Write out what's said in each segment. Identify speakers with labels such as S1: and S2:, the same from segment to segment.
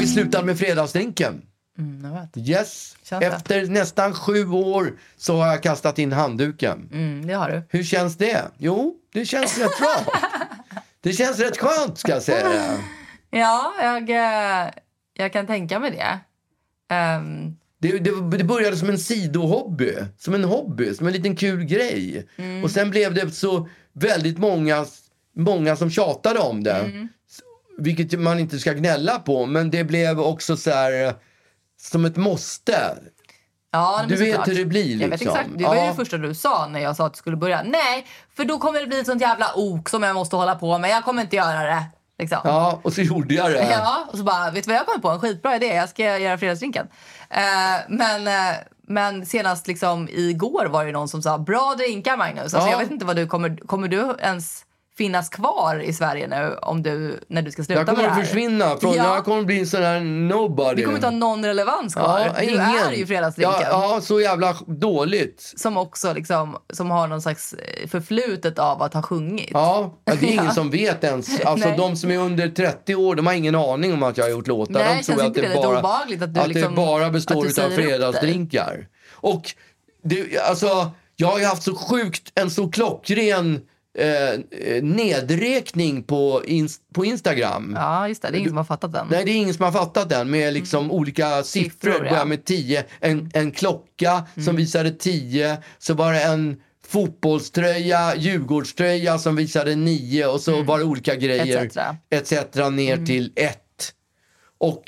S1: vi slutat med fredagsdrinken.
S2: Mm, jag vet.
S1: Yes.
S2: Känns det?
S1: Efter nästan sju år så har jag kastat in handduken.
S2: Mm, det har du.
S1: Hur känns det? Jo, det känns rätt bra. Det känns rätt skönt ska jag säga.
S2: Ja, jag, eh, jag kan tänka mig det. Ehm,
S1: Det, det, det började som en sidohobby, som en hobby, som en liten kul grej.
S2: mm,
S1: Och sen blev det så väldigt många, många som tjatade om det.
S2: Mm.
S1: S- Vilket man inte ska gnälla på, men det blev också så här eh, som ett måste.
S2: ja, men
S1: Du vet
S2: såklart.
S1: hur det blir,
S2: Jag vet
S1: liksom.
S2: exakt. Det var ju
S1: Ja.
S2: det första du sa när jag sa att du skulle börja. Nej, för då kommer det bli ett sånt jävla ok som jag måste hålla på med. Jag kommer inte göra det. Liksom.
S1: Ja, och så gjorde jag det.
S2: Ja, och så bara, vet du vad jag kom på? En skitbra idé, jag ska göra fredagsdrinken. Eh, men, eh, men senast liksom igår var det någon som sa, bra drinkar Magnus. Alltså,
S1: Ja.
S2: Jag vet inte vad du kommer, kommer du ens finnas kvar i Sverige nu om du, när du ska sluta
S1: Jag kommer
S2: med det
S1: att
S2: här?
S1: försvinna. Från,
S2: Ja.
S1: Jag kommer att bli en sån här nobody.
S2: Du kommer inte ha någon relevans kvar.
S1: ja,
S2: du
S1: ingen.
S2: är ju fredagsdrinken.
S1: Ja, ja, så jävla dåligt.
S2: Som också liksom, som har någon slags eh, förflutet av att ha sjungit.
S1: Ja, ja, det är ingen som vet ens. Alltså
S2: Nej.
S1: de som är under 30 år, de har ingen aning om att jag har gjort låtar.
S2: Nej,
S1: de
S2: känns inte det lite obehagligt att du
S1: att
S2: liksom-
S1: det bara
S2: att
S1: består
S2: du
S1: utav
S2: säger upp dig?
S1: fredagsdrinkar. Och det, alltså, jag har ju haft så sjukt, en så klockren eh, eh, nedräkning på, ins- på Instagram.
S2: Ja, just det. Det är ingen som har fattat den.
S1: Nej, det är ingen som har fattat den med liksom olika siffror.
S2: Siffror, ja. Mm.
S1: Börjar med 10. En, en klocka som visade 10. Så var det en fotbollströja, Djurgårdströja som visade 9 och
S2: Mm.
S1: så var det olika grejer.
S2: Etc.
S1: Etc. ner
S2: Mm.
S1: till 1. Och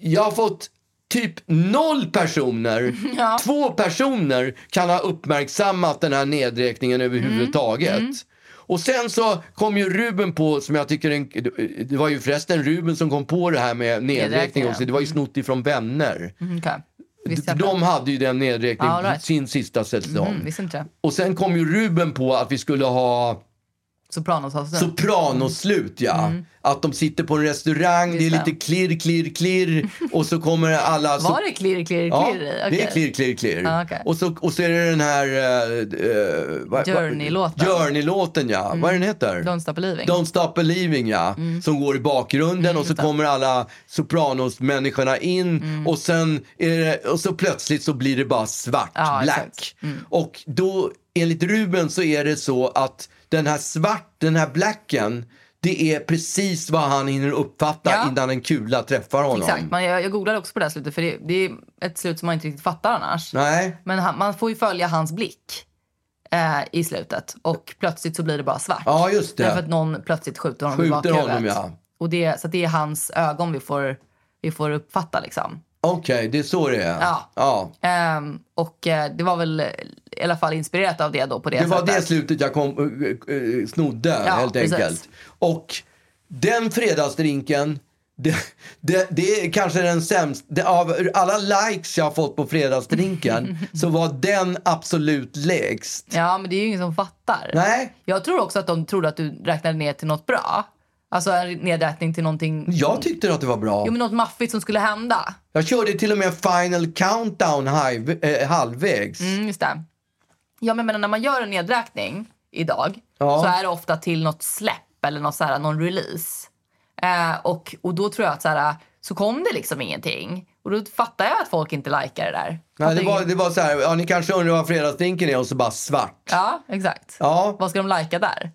S1: jag har fått typ noll personer,
S2: Ja.
S1: två personer kan ha uppmärksammat den här nedräkningen överhuvudtaget.
S2: Mm,
S1: Och sen så kom ju Ruben på, som jag tycker, en, det var ju förresten Ruben som kom på det här med nedräkning
S2: Nedräkningen.
S1: också. Det var ju snott ifrån vänner.
S2: Mm, okej. Visste
S1: För
S2: jag inte.
S1: de hade ju den nedräkningen
S2: Ja, all right.
S1: sin sista säsong.
S2: Mm, visste inte det.
S1: Och sen kom ju Ruben på att vi skulle ha
S2: Sopranos har stunt.
S1: Sopranoslut, ja. Att de sitter på en restaurang, det är
S2: Mm. Just det.
S1: lite klirr, klirr, klirr och så kommer alla... så-
S2: Var det klirr, klirr,
S1: Ja,
S2: klirr i?
S1: det
S2: Okej.
S1: är klirr, klirr, klirr.
S2: Ja, okej.
S1: och, så, och så är det den här... eh, eh, vad-
S2: Journey-låten.
S1: Journey-låten, ja. Vad är den heter?
S2: Don't stop believing.
S1: Don't Stop Believing, ja.
S2: Mm.
S1: Som går i bakgrunden och så
S2: just det.
S1: kommer alla Sopranos-människorna in
S2: Mm.
S1: och sen är det, och så plötsligt så blir det bara svart,
S2: Ja,
S1: black.
S2: exakt. Mm.
S1: Och då, enligt Ruben, så är det så att den här svart, den här blacken, det är precis vad han hinner uppfatta
S2: Ja.
S1: innan en kula träffar honom.
S2: Exakt. Man, jag, jag googlade också på det här slutet för det, det är ett slut som man inte riktigt fattar annars.
S1: Nej.
S2: Men han, man får ju följa hans blick eh, i slutet och plötsligt så blir det bara svart.
S1: Ja, just det.
S2: Därför att någon plötsligt skjuter honom i
S1: Skjuter
S2: bakhuvudet.
S1: honom, ja.
S2: och det, så att det är hans ögon vi får, vi får uppfatta liksom.
S1: Okej, det är så det är.
S2: Ja.
S1: ja.
S2: Ehm, och eh, det var väl i alla fall inspirerat av det då på det,
S1: Det var
S2: sättet.
S1: det slutet jag kom, eh, eh, snodde
S2: Ja,
S1: helt
S2: precis.
S1: enkelt. Och den fredagsdrinken, det, det, det är kanske den sämsta. Av alla likes jag har fått på fredagsdrinken så var den absolut lägst.
S2: Ja, men det är ju ingen som fattar.
S1: Nej,
S2: Jag tror också att de trodde att du räknade ner till något bra. Alltså en nedräkning till någonting...
S1: jag tyckte att det var bra.
S2: Jo, men något maffigt som skulle hända.
S1: Jag körde till och med final countdown halv, eh, halvvägs.
S2: Mm, just det. Ja, men, men när man gör en nedräkning idag
S1: Ja.
S2: så är det ofta till något släpp eller något så här, någon release. Eh, och, och då tror jag att så, här, så kom det liksom ingenting. Och då fattar jag att folk inte likar det där.
S1: Nej, det,
S2: Fattar
S1: var,
S2: ingen-
S1: det var så här, ja, ni kanske undrar vad fredagsdrinken är och så bara svart.
S2: Ja, exakt.
S1: Ja,
S2: Vad ska de lika där?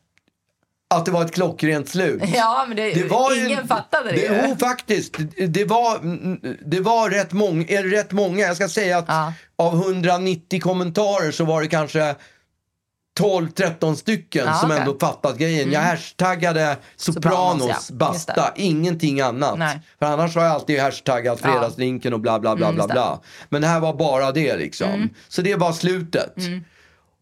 S1: att det var ett klockrent slut.
S2: Ja, men det,
S1: Det var ju-
S2: ingen fattade det,
S1: det
S2: ju.
S1: Jo, faktiskt. Det- Det var, det var rätt, mång, eh, rätt många. Jag ska säga att
S2: Ja.
S1: av 190 kommentarer så var det kanske 12-13 stycken
S2: Ja,
S1: som
S2: okej. Mm.
S1: ändå fattat grejen. Jag hashtaggade Sopranos,
S2: Sopranos, ja. Just
S1: basta,
S2: det.
S1: ingenting annat.
S2: Nej.
S1: För annars har jag alltid hashtaggat
S2: Ja.
S1: fredagsdrinken och bla bla bla
S2: Mm,
S1: bla
S2: just Mm.
S1: bla. Men det här var bara det liksom. Så det var slutet.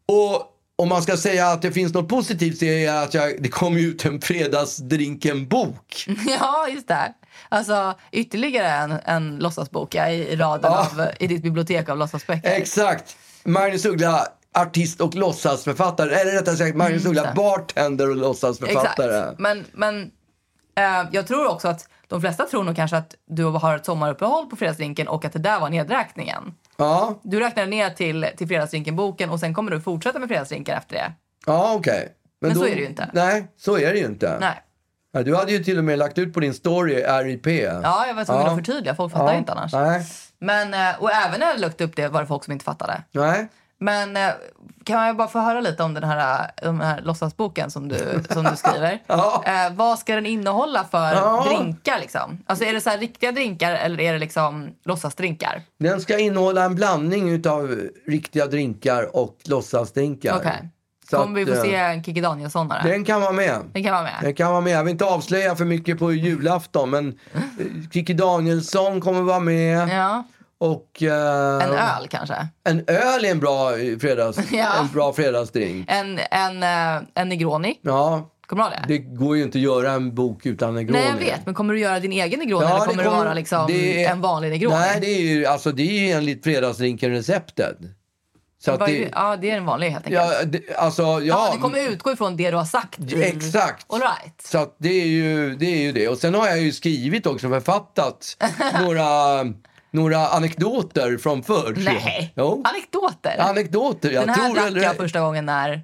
S1: Och om man ska säga att det finns något positivt så är det att jag, det kom ju ut en fredagsdrinken-bok.
S2: Mm. Ja, just det. Alltså, ytterligare en, en låtsasbok ja, i raden
S1: Ja.
S2: av, eh, i ditt bibliotek av låtsasböcker.
S1: Exakt. Magnus Uggla, artist och låtsasförfattare. Eller rättare sagt, Magnus Uggla,
S2: Mm, det.
S1: bartender och låtsasförfattare.
S2: Men, men eh, jag tror också att de flesta tror nog kanske att du har ett sommaruppehåll på fredagsdrinken och att det där var nedräkningen.
S1: Ja,
S2: Du räknar ner till, till fredagsdrinken-boken och sen kommer du fortsätta med fredagsdrinken efter det.
S1: ja okej.
S2: Men så är det ju inte.
S1: Nej, så är det ju inte.
S2: Nej.
S1: Ja, du hade ju till och med lagt ut på din story RIP.
S2: Ja, jag var tvungen
S1: Ja.
S2: att förtydliga. Folk fattar ju inte annars.
S1: Nej.
S2: Men, eh, och även när jag lagt upp det var det folk som inte fattade.
S1: Nej.
S2: Men eh, kan jag bara få höra lite om den här, eh, den här låtsasboken som du, som du skriver?
S1: Ja.
S2: Eh, vad ska den innehålla för
S1: Ja.
S2: drinkar? Liksom? Alltså, är det så här riktiga drinkar eller är det liksom låtsasdrinkar?
S1: Den ska innehålla en blandning utav riktiga drinkar och låtsasdrinkar.
S2: Okej.
S1: Så
S2: Kommer vi
S1: att,
S2: få
S1: eh,
S2: se en Kikki Danielsson-are?
S1: Den kan vara med.
S2: Den kan vara med.
S1: Den kan vara med. Jag vill inte avslöja för mycket på julafton men eh, Kikki Danielsson kommer vara med.
S2: Ja.
S1: Och, eh,
S2: En öl kanske?
S1: En öl är en bra, eh, fredags,
S2: Ja.
S1: en bra fredagsdrink.
S2: En, en, eh, en Negroni?
S1: Ja,
S2: Kommer du ha det?
S1: det går ju inte att göra en bok utan Negroni.
S2: Nej, jag vet. Men kommer du göra din egen Negroni
S1: Ja,
S2: eller kommer det, vara liksom
S1: det är-
S2: en vanlig Negroni?
S1: Nej, det är ju alltså, det är ju enligt fredagsdrinken-receptet. Så att
S2: Vad är
S1: det,
S2: det... Ja, det är en vanlig helt enkelt. Ja,
S1: ja, det, alltså, ja,
S2: du kommer utgå ifrån det du har sagt. i-
S1: exakt.
S2: All right.
S1: Så att det, är ju, det är ju det. Och sen har jag ju skrivit också, författat några, några anekdoter från förr.
S2: Nej.
S1: Jo.
S2: Anekdoter.
S1: Anekdoter. Jag
S2: den här
S1: tror
S2: drack
S1: eller
S2: jag första gången när...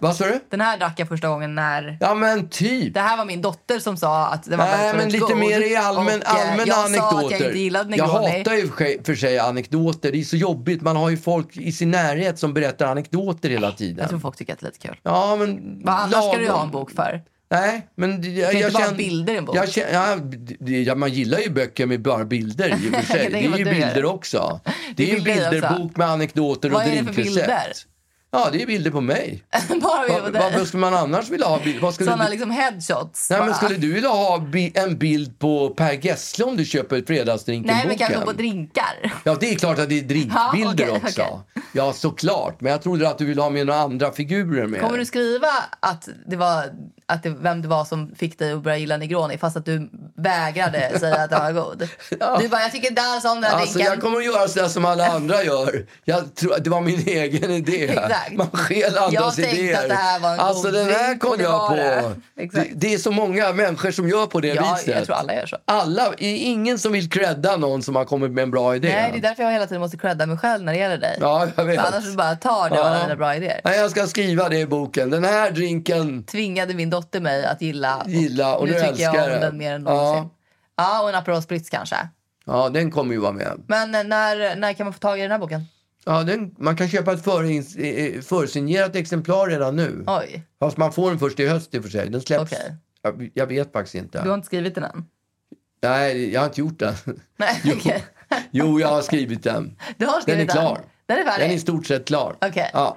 S1: Vad sa du?
S2: Den här drack jag första gången när...
S1: Ja men typ.
S2: Det här var min dotter som sa att den var
S1: Nej,
S2: väldigt
S1: men lite
S2: god.
S1: mer i allmän,
S2: Och, eh,
S1: allmänna
S2: jag
S1: anekdoter.
S2: sa att jag inte gillade
S1: Jag
S2: Negroni.
S1: hatar ju för sig- för sig anekdoter. Det är så jobbigt. Man har ju folk i sin närhet som berättar anekdoter hela
S2: Jag tror
S1: tiden.
S2: folk tycker att det är lite kul.
S1: Ja, men...
S2: Vad annars ska du ju
S1: lagom.
S2: ha en bok för?
S1: Nej, men... det- Jag,
S2: kan ju
S1: jag
S2: inte bara ha
S1: känner-
S2: bilder i en bok.
S1: Jag känner, ja, det- ja, man gillar ju böcker med bara bilder i och för sig.
S2: Jag
S1: det
S2: tänker
S1: är
S2: vad
S1: ju
S2: du gör.
S1: bilder också. Det är ju en
S2: bilder också.
S1: bilderbok med anekdoter
S2: alltså. Vad
S1: och
S2: är det för
S1: drinkrecept.
S2: bilder?
S1: Ja, det är bilder på mig.
S2: bara vi var
S1: Vad-
S2: där.
S1: Varför skulle man annars vilja ha bilder? Vad skulle
S2: Sådana
S1: du-
S2: liksom headshots.
S1: Nej, men
S2: bara.
S1: skulle du vilja ha bi- en bild på Per Gessle om du köper fredagsdrinken
S2: Nej, men kanske på drinkar.
S1: Ja, det är klart att det är drinkbilder
S2: Ja, okej,
S1: också.
S2: okej.
S1: Ja, såklart. Men jag trodde att du ville ha med några andra figurer med.
S2: Kommer du skriva att det var att det, vem det var som fick dig att börja gilla Negroni fast att du vägrade säga att den var god?
S1: Ja.
S2: Du bara, jag tycker inte alls om den här
S1: Alltså,
S2: drinken.
S1: jag kommer att göra sådär som alla andra gör. Jag tror att det var min egen idé.
S2: Exakt.
S1: Man stjäl
S2: Jag
S1: andras
S2: tänkte
S1: idéer.
S2: att det här var en
S1: alltså,
S2: god
S1: den här
S2: drink, och
S1: kom
S2: det
S1: jag
S2: var
S1: på.
S2: det.
S1: Det.
S2: Exakt.
S1: Det, är så många människor som gör på det
S2: ja,
S1: viset.
S2: jag tror alla gör så.
S1: Alla, det är ingen som vill credda någon som har kommit med en bra idé.
S2: Nej, det är därför jag hela tiden måste credda mig själv när det gäller dig.
S1: Ja, jag vet.
S2: För annars så bara tar du alla
S1: Ja.
S2: mina bra idéer.
S1: Nej, jag ska skriva det i boken. Den här drinken
S2: Tvingade min dotter mig att gilla.
S1: gilla och
S2: nu
S1: nu,
S2: tycker
S1: älskar
S2: jag om
S1: jag
S2: den mer än någonsin.
S1: ja.
S2: Ja, och en Aperol Spritz kanske.
S1: ja, den kommer ju vara med.
S2: Men eh, när, när kan man få tag i den här boken?
S1: Ja, den, man kan köpa ett förins- eh, eh, försignerat exemplar redan nu.
S2: Oj,
S1: Fast man får den först i höst i och för sig. Den släpps.
S2: Okej.
S1: Jag, jag vet faktiskt inte.
S2: du har inte skrivit den än?
S1: Nej, jag har inte gjort den.
S2: Nej, okej.
S1: Jo, jag har skrivit den.
S2: Du har skrivit
S1: Den är klar.
S2: Den är färdig?
S1: Den är i stort sett klar.
S2: Okej.
S1: Ja.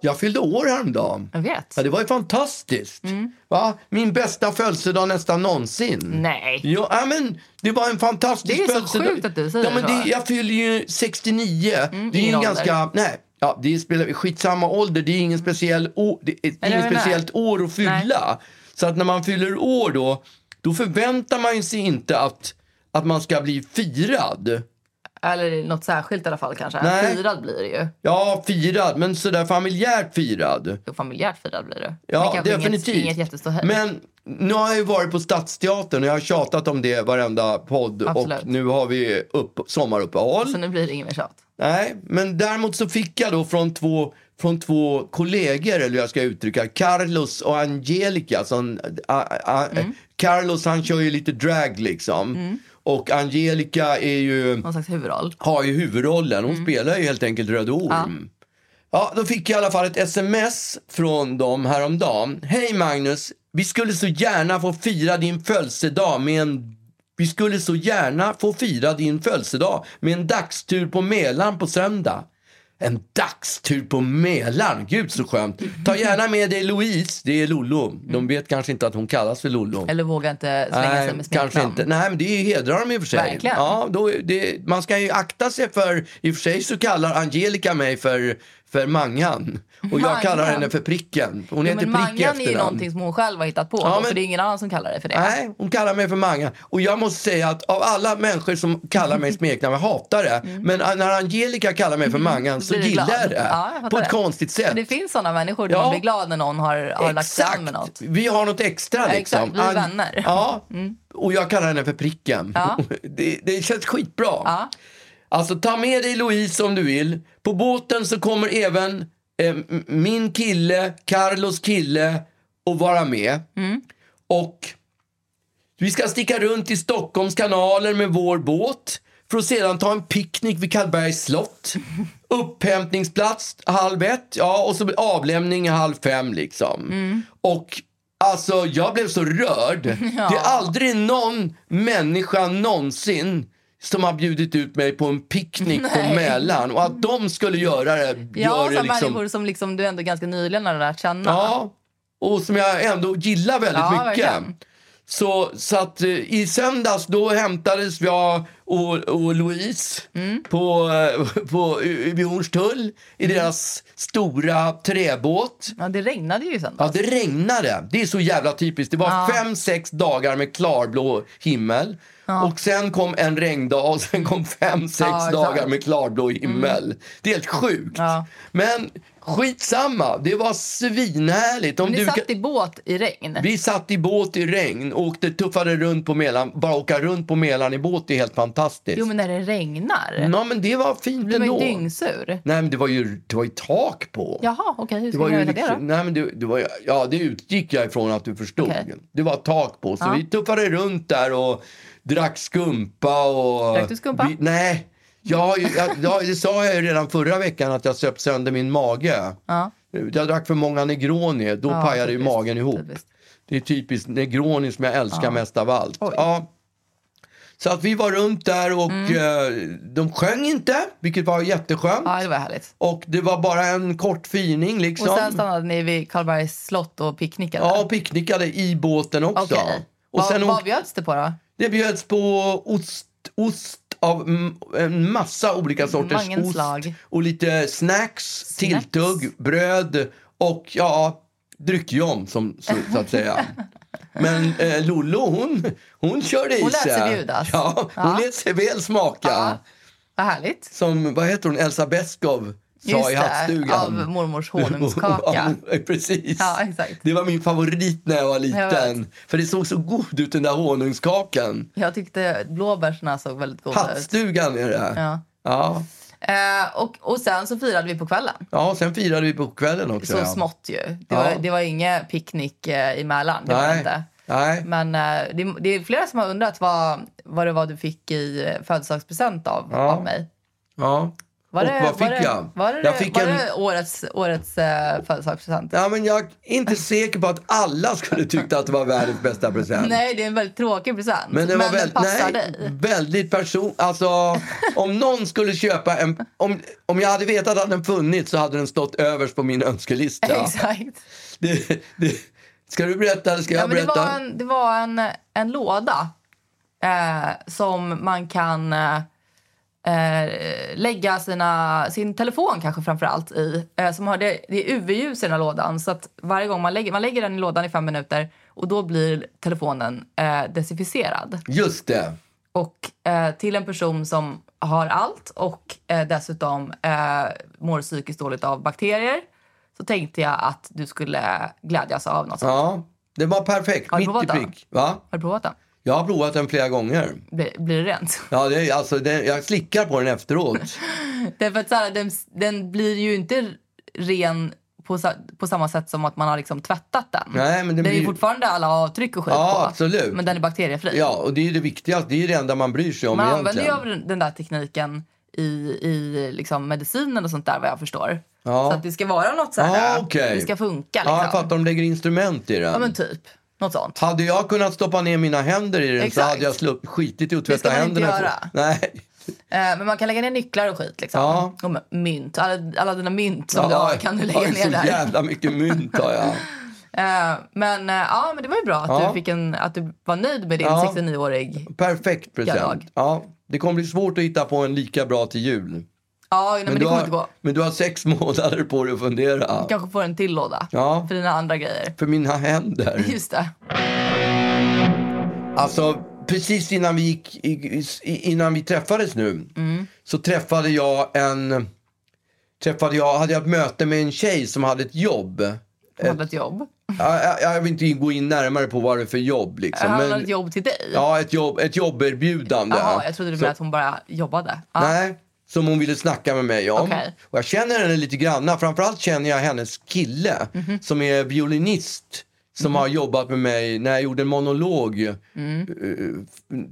S1: Jag fyllde år häromdagen.
S2: Jag vet.
S1: Ja, det var ju fantastiskt.
S2: Mm.
S1: Va? Min bästa födelsedag nästan någonsin.
S2: Nej.
S1: Ja, ja, men det var en fantastisk
S2: Det är så
S1: födelsedag.
S2: sjukt att du säger
S1: ja, men
S2: så. Mm,
S1: det. Jag fyller ju 69. det är ju
S2: ingen
S1: en
S2: ålder.
S1: ganska... Nej, ja, det spelar skitsamma ålder. Det är ingen speciell å, det är
S2: vad
S1: ingen
S2: jag menar?
S1: speciellt år att fylla. Så att när man fyller år då, då förväntar man ju sig inte att, att man ska bli firad.
S2: Eller något särskilt i alla fall kanske.
S1: Nej.
S2: Firad blir det ju.
S1: Ja, firad, men sådär familjärt firad.
S2: Jo, Familjärt firad blir det. Men
S1: Ja,
S2: kanske
S1: definitivt.
S2: Inget, inget jätteståhej.
S1: Men nu har jag ju varit på Stadsteatern och jag har tjatat om det varenda podd.
S2: Absolut.
S1: Och nu har vi upp, sommaruppehåll.
S2: Så nu blir det inget mer tjat.
S1: Nej, men däremot så fick jag då från två, från två kollegor, eller hur jag ska uttrycka Carlos och äh, Angelica. Som, a, a, Carlos han kör ju lite drag liksom. Och Angelica är ju,
S2: Någon slags huvudroll.
S1: har ju huvudrollen. Hon spelar ju helt enkelt Röd Orm. Ja. då fick jag i alla fall ett sms från dem häromdagen. Hej Magnus, vi skulle så gärna få fira din födelsedag med en vi skulle så gärna få fira din födelsedag med en dagstur på Mälaren på söndag. En dagstur på Mälaren, gud så skönt. Ta gärna med dig Louise, det är Lollo. De vet kanske inte att hon kallas för Lollo.
S2: Eller vågar inte slänga
S1: Nej,
S2: sig med
S1: kanske
S2: smeknamn.
S1: inte. Nej, men det hedrar dem i och för sig.
S2: Verkligen.
S1: Ja, då, det, man ska ju akta sig för... I och för sig så kallar Angelica mig för, för Mangan. Och jag
S2: Mangan.
S1: kallar henne för Pricken. Hon
S2: Jo,
S1: heter
S2: men
S1: Prick i
S2: mangan är ju
S1: efternamn.
S2: någonting som hon själv har hittat på.
S1: Ja,
S2: då,
S1: men-
S2: För det är ingen annan som kallar det för det.
S1: Nej, hon kallar mig för Mangan. Och jag måste säga att av alla människor som kallar mig smeknamn, jag hatar det. Men när Angelica kallar mig för Mangan så
S2: Mm. Blir du
S1: gillar
S2: glad?
S1: jag det.
S2: Ja, jag fattar
S1: på ett
S2: det.
S1: konstigt sätt.
S2: Men det finns såna människor där
S1: Ja.
S2: man blir glad när någon har, har lagt sig an med något.
S1: Vi har något extra
S2: Ja,
S1: liksom.
S2: exakt. Vi är vänner. Mm.
S1: Ja, och jag kallar henne för Pricken.
S2: Ja.
S1: Det, det känns skitbra.
S2: Ja.
S1: Alltså ta med dig Louise om du vill. På båten så kommer även eh, m- min kille, Carlos kille, att vara med. Och vi ska sticka runt i Stockholms kanaler med vår båt för att sedan ta en picknick vid Karlbergs slott. Upphämtningsplats halv ett, ja, och så avlämning halv fem. liksom.
S2: Mm.
S1: Och alltså, jag blev så rörd. Det är aldrig någon människa någonsin som har bjudit ut mig på en picknick på Mälaren. Och att de skulle göra det
S2: Ja,
S1: gör det
S2: som
S1: liksom...
S2: människor som liksom du ändå ganska nyligen har lärt känna.
S1: Ja, och som jag ändå gillar väldigt
S2: Ja,
S1: mycket.
S2: verkligen.
S1: Så, så att eh, i söndags då hämtades jag och, och Louise
S2: Mm.
S1: på, eh, på, i- vid Hornstull i deras stora träbåt.
S2: Ja, det regnade ju sen.
S1: Ja, det regnade. Det är så jävla typiskt. Det var fem, sex dagar med klarblå himmel. Och sen kom en regndag och sen kom fem, sex
S2: Ja, exakt. Mm.
S1: dagar med klarblå himmel. Det är helt sjukt.
S2: Ja.
S1: Men skitsamma, det var svinhärligt. Om
S2: Men ni
S1: du
S2: satt
S1: kan-
S2: i båt i regn.
S1: Vi satt i båt i regn och åkte tuffade runt på Mälaren. Bara åka runt på Mälaren i båt är helt fantastiskt.
S2: Jo, men när det regnar.
S1: Ja, men det var fint
S2: blir man ju
S1: ändå.
S2: dyngsur.
S1: Nej, men det var ju, det var ju tak på.
S2: Jaha, okej. Hur
S1: Det
S2: ska
S1: var
S2: man
S1: ju
S2: veta det
S1: liksom,
S2: då?
S1: nej men det, det var, ju- ja, det utgick jag ifrån att du förstod.
S2: Okej.
S1: Det var tak på. Så
S2: Ja.
S1: vi tuffade runt där och drack skumpa. Och,
S2: Drack du skumpa?
S1: Vi, nej. Jag, har ju- jag, jag, det sa jag ju redan förra veckan att jag söp sönder min mage.
S2: Ja.
S1: Jag drack för många Negroni. Då
S2: Ja,
S1: pajade ju
S2: typiskt,
S1: magen ihop.
S2: typiskt.
S1: Det är typiskt Negroni som jag älskar mest av allt. Ja. Så att vi var runt där och eh, de sjöng inte, vilket var jätteskönt.
S2: Mm. Ja, det var härligt.
S1: Och det var bara en kort fining liksom.
S2: Och sen stannade ni vid Karlbergs slott och picknickade?
S1: Ja, och picknickade i båten också.
S2: Okej.
S1: Och
S2: Vad-
S1: sen
S2: Vad
S1: åkte-
S2: bjöds det på då?
S1: Det bjöds på ost, ost av mm, en massa olika sorters
S2: Många
S1: ost.
S2: slag.
S1: Och lite snacks, tilltugg, bröd och ja, dryckjom som, så, så att säga. Men eh, Lollo hon, hon körde i
S2: Hon lät sig
S1: sig.
S2: bjudas.
S1: Ja, hon
S2: Ja.
S1: lät sig väl smaka.
S2: Ja. Vad härligt.
S1: Som, vad heter hon, Elsa Beskow sa
S2: Just
S1: i
S2: det,
S1: hattstugan.
S2: av mormors honungskaka.
S1: Ja, precis.
S2: Ja, exakt.
S1: Det var min favorit när jag var
S2: Jag
S1: liten.
S2: vet.
S1: För det såg så god ut den där honungskakan.
S2: Jag tyckte blåbärsna såg väldigt goda ut.
S1: Hattstugan är det.
S2: Ja.
S1: Ja.
S2: Eh, och, och sen så firade vi på kvällen.
S1: ja, sen firade vi på kvällen också.
S2: Så
S1: ja.
S2: smått ju. Det,
S1: Ja.
S2: var, det var ingen picknick eh, i Mälaren. Det var det
S1: Nej.
S2: inte.
S1: Nej.
S2: Men eh, det, det är flera som har undrat vad, vad det var du fick i eh, födelsedagspresent av,
S1: Ja.
S2: av mig.
S1: Ja.
S2: Var
S1: och
S2: det,
S1: vad fick
S2: var det,
S1: jag?
S2: Var det,
S1: jag fick
S2: var
S1: en...
S2: det årets, årets eh, födelsedagspresent?
S1: Ja, men jag är inte säker på att alla skulle tycka att det var världens bästa present.
S2: Nej, det är en väldigt tråkig present.
S1: Men den var väl,
S2: passar
S1: nej,
S2: dig.
S1: väldigt person... Alltså, om någon skulle köpa en... Om, om jag hade vetat att den funnits så hade den stått överst på min önskelista.
S2: Exakt.
S1: det, det, ska du berätta eller ska
S2: Ja,
S1: jag
S2: men det
S1: berätta?
S2: var en, det var en, en låda eh, som man kan eh, eh, lägga sina, sin telefon kanske framför allt i. Eh, som har det, det är UV-ljus i den här lådan. Så att varje gång man lägger, man lägger den i lådan i fem minuter och då blir telefonen eh, desinficerad.
S1: Just det.
S2: Och eh, till en person som har allt och eh, dessutom eh, mår psykiskt dåligt av bakterier så tänkte jag att du skulle glädjas av något. sånt.
S1: Ja, det var perfekt.
S2: Har du
S1: Mitt i
S2: provat den?
S1: prick. Va?
S2: Har du provat den?
S1: Jag har provat den flera gånger.
S2: Blir, blir det rent?
S1: Ja, det, är- alltså, det, jag slickar på den efteråt.
S2: Därför att så här, den, den blir ju inte ren på, sa- på samma sätt som att man har liksom tvättat den.
S1: Nej, men den
S2: det är ju
S1: blir-
S2: fortfarande alla avtryck och skit
S1: Ja,
S2: på.
S1: absolut.
S2: Men den är bakteriefri.
S1: Ja, och det är ju det viktigaste. Det är ju det enda man bryr sig om
S2: man använder
S1: egentligen.
S2: ju av den- den där tekniken i, i liksom medicinen och sånt där vad jag förstår.
S1: Ja.
S2: Så att det ska vara något så här.
S1: Ah, okej.
S2: Det ska funka liksom.
S1: Ja, jag fattar. De lägger instrument i den.
S2: Ja, men typ. Något sånt.
S1: Hade jag kunnat stoppa ner mina händer i den
S2: Exakt.
S1: så hade jag slupp, skitit i att tvätta
S2: ska man inte
S1: händerna.
S2: göra.
S1: Nej.
S2: Eh, men man kan lägga ner nycklar och skit liksom.
S1: Ja.
S2: Och med- mynt. Alla, alla dina mynt som du
S1: Ja,
S2: har kan du lägga
S1: jag har
S2: ner
S1: Så
S2: där.
S1: jävla mycket mynt har jag.
S2: Eh, men eh, ja, men det var ju bra att,
S1: Ja.
S2: du, fick en, att du var nöjd med din
S1: Ja.
S2: 69-årig.
S1: Perfekt
S2: Jag
S1: present.
S2: lag.
S1: Ja, det kommer bli svårt att hitta på en lika bra till jul. Men,
S2: Ja, nej, men, det
S1: du,
S2: kommer
S1: har,
S2: inte gå.
S1: men du har sex månader på dig att fundera.
S2: Kanske får en till låda.
S1: Ja, Mm.
S2: För dina andra grejer.
S1: för mina händer.
S2: Just det.
S1: Alltså, precis innan vi, gick, i- i- innan vi träffades nu
S2: Mm.
S1: så träffade jag en... Träffade jag, hade jag ett möte med en tjej som hade ett jobb.
S2: Hon hade ett jobb.
S1: Jag, jag, jag vill inte gå in närmare på vad det är för jobb. Liksom.
S2: Hon hade
S1: men-
S2: ett jobb till dig.
S1: Ja, ett, jobb, ett jobberbjudande.
S2: Jaha, jag trodde du menade att hon bara jobbade. Ja.
S1: Nej, som hon ville snacka med mig om.
S2: Okej.
S1: Och jag känner henne lite granna. Framförallt känner jag hennes kille
S2: Mhm.
S1: som är violinist. Som har jobbat med mig när jag gjorde en monolog eh,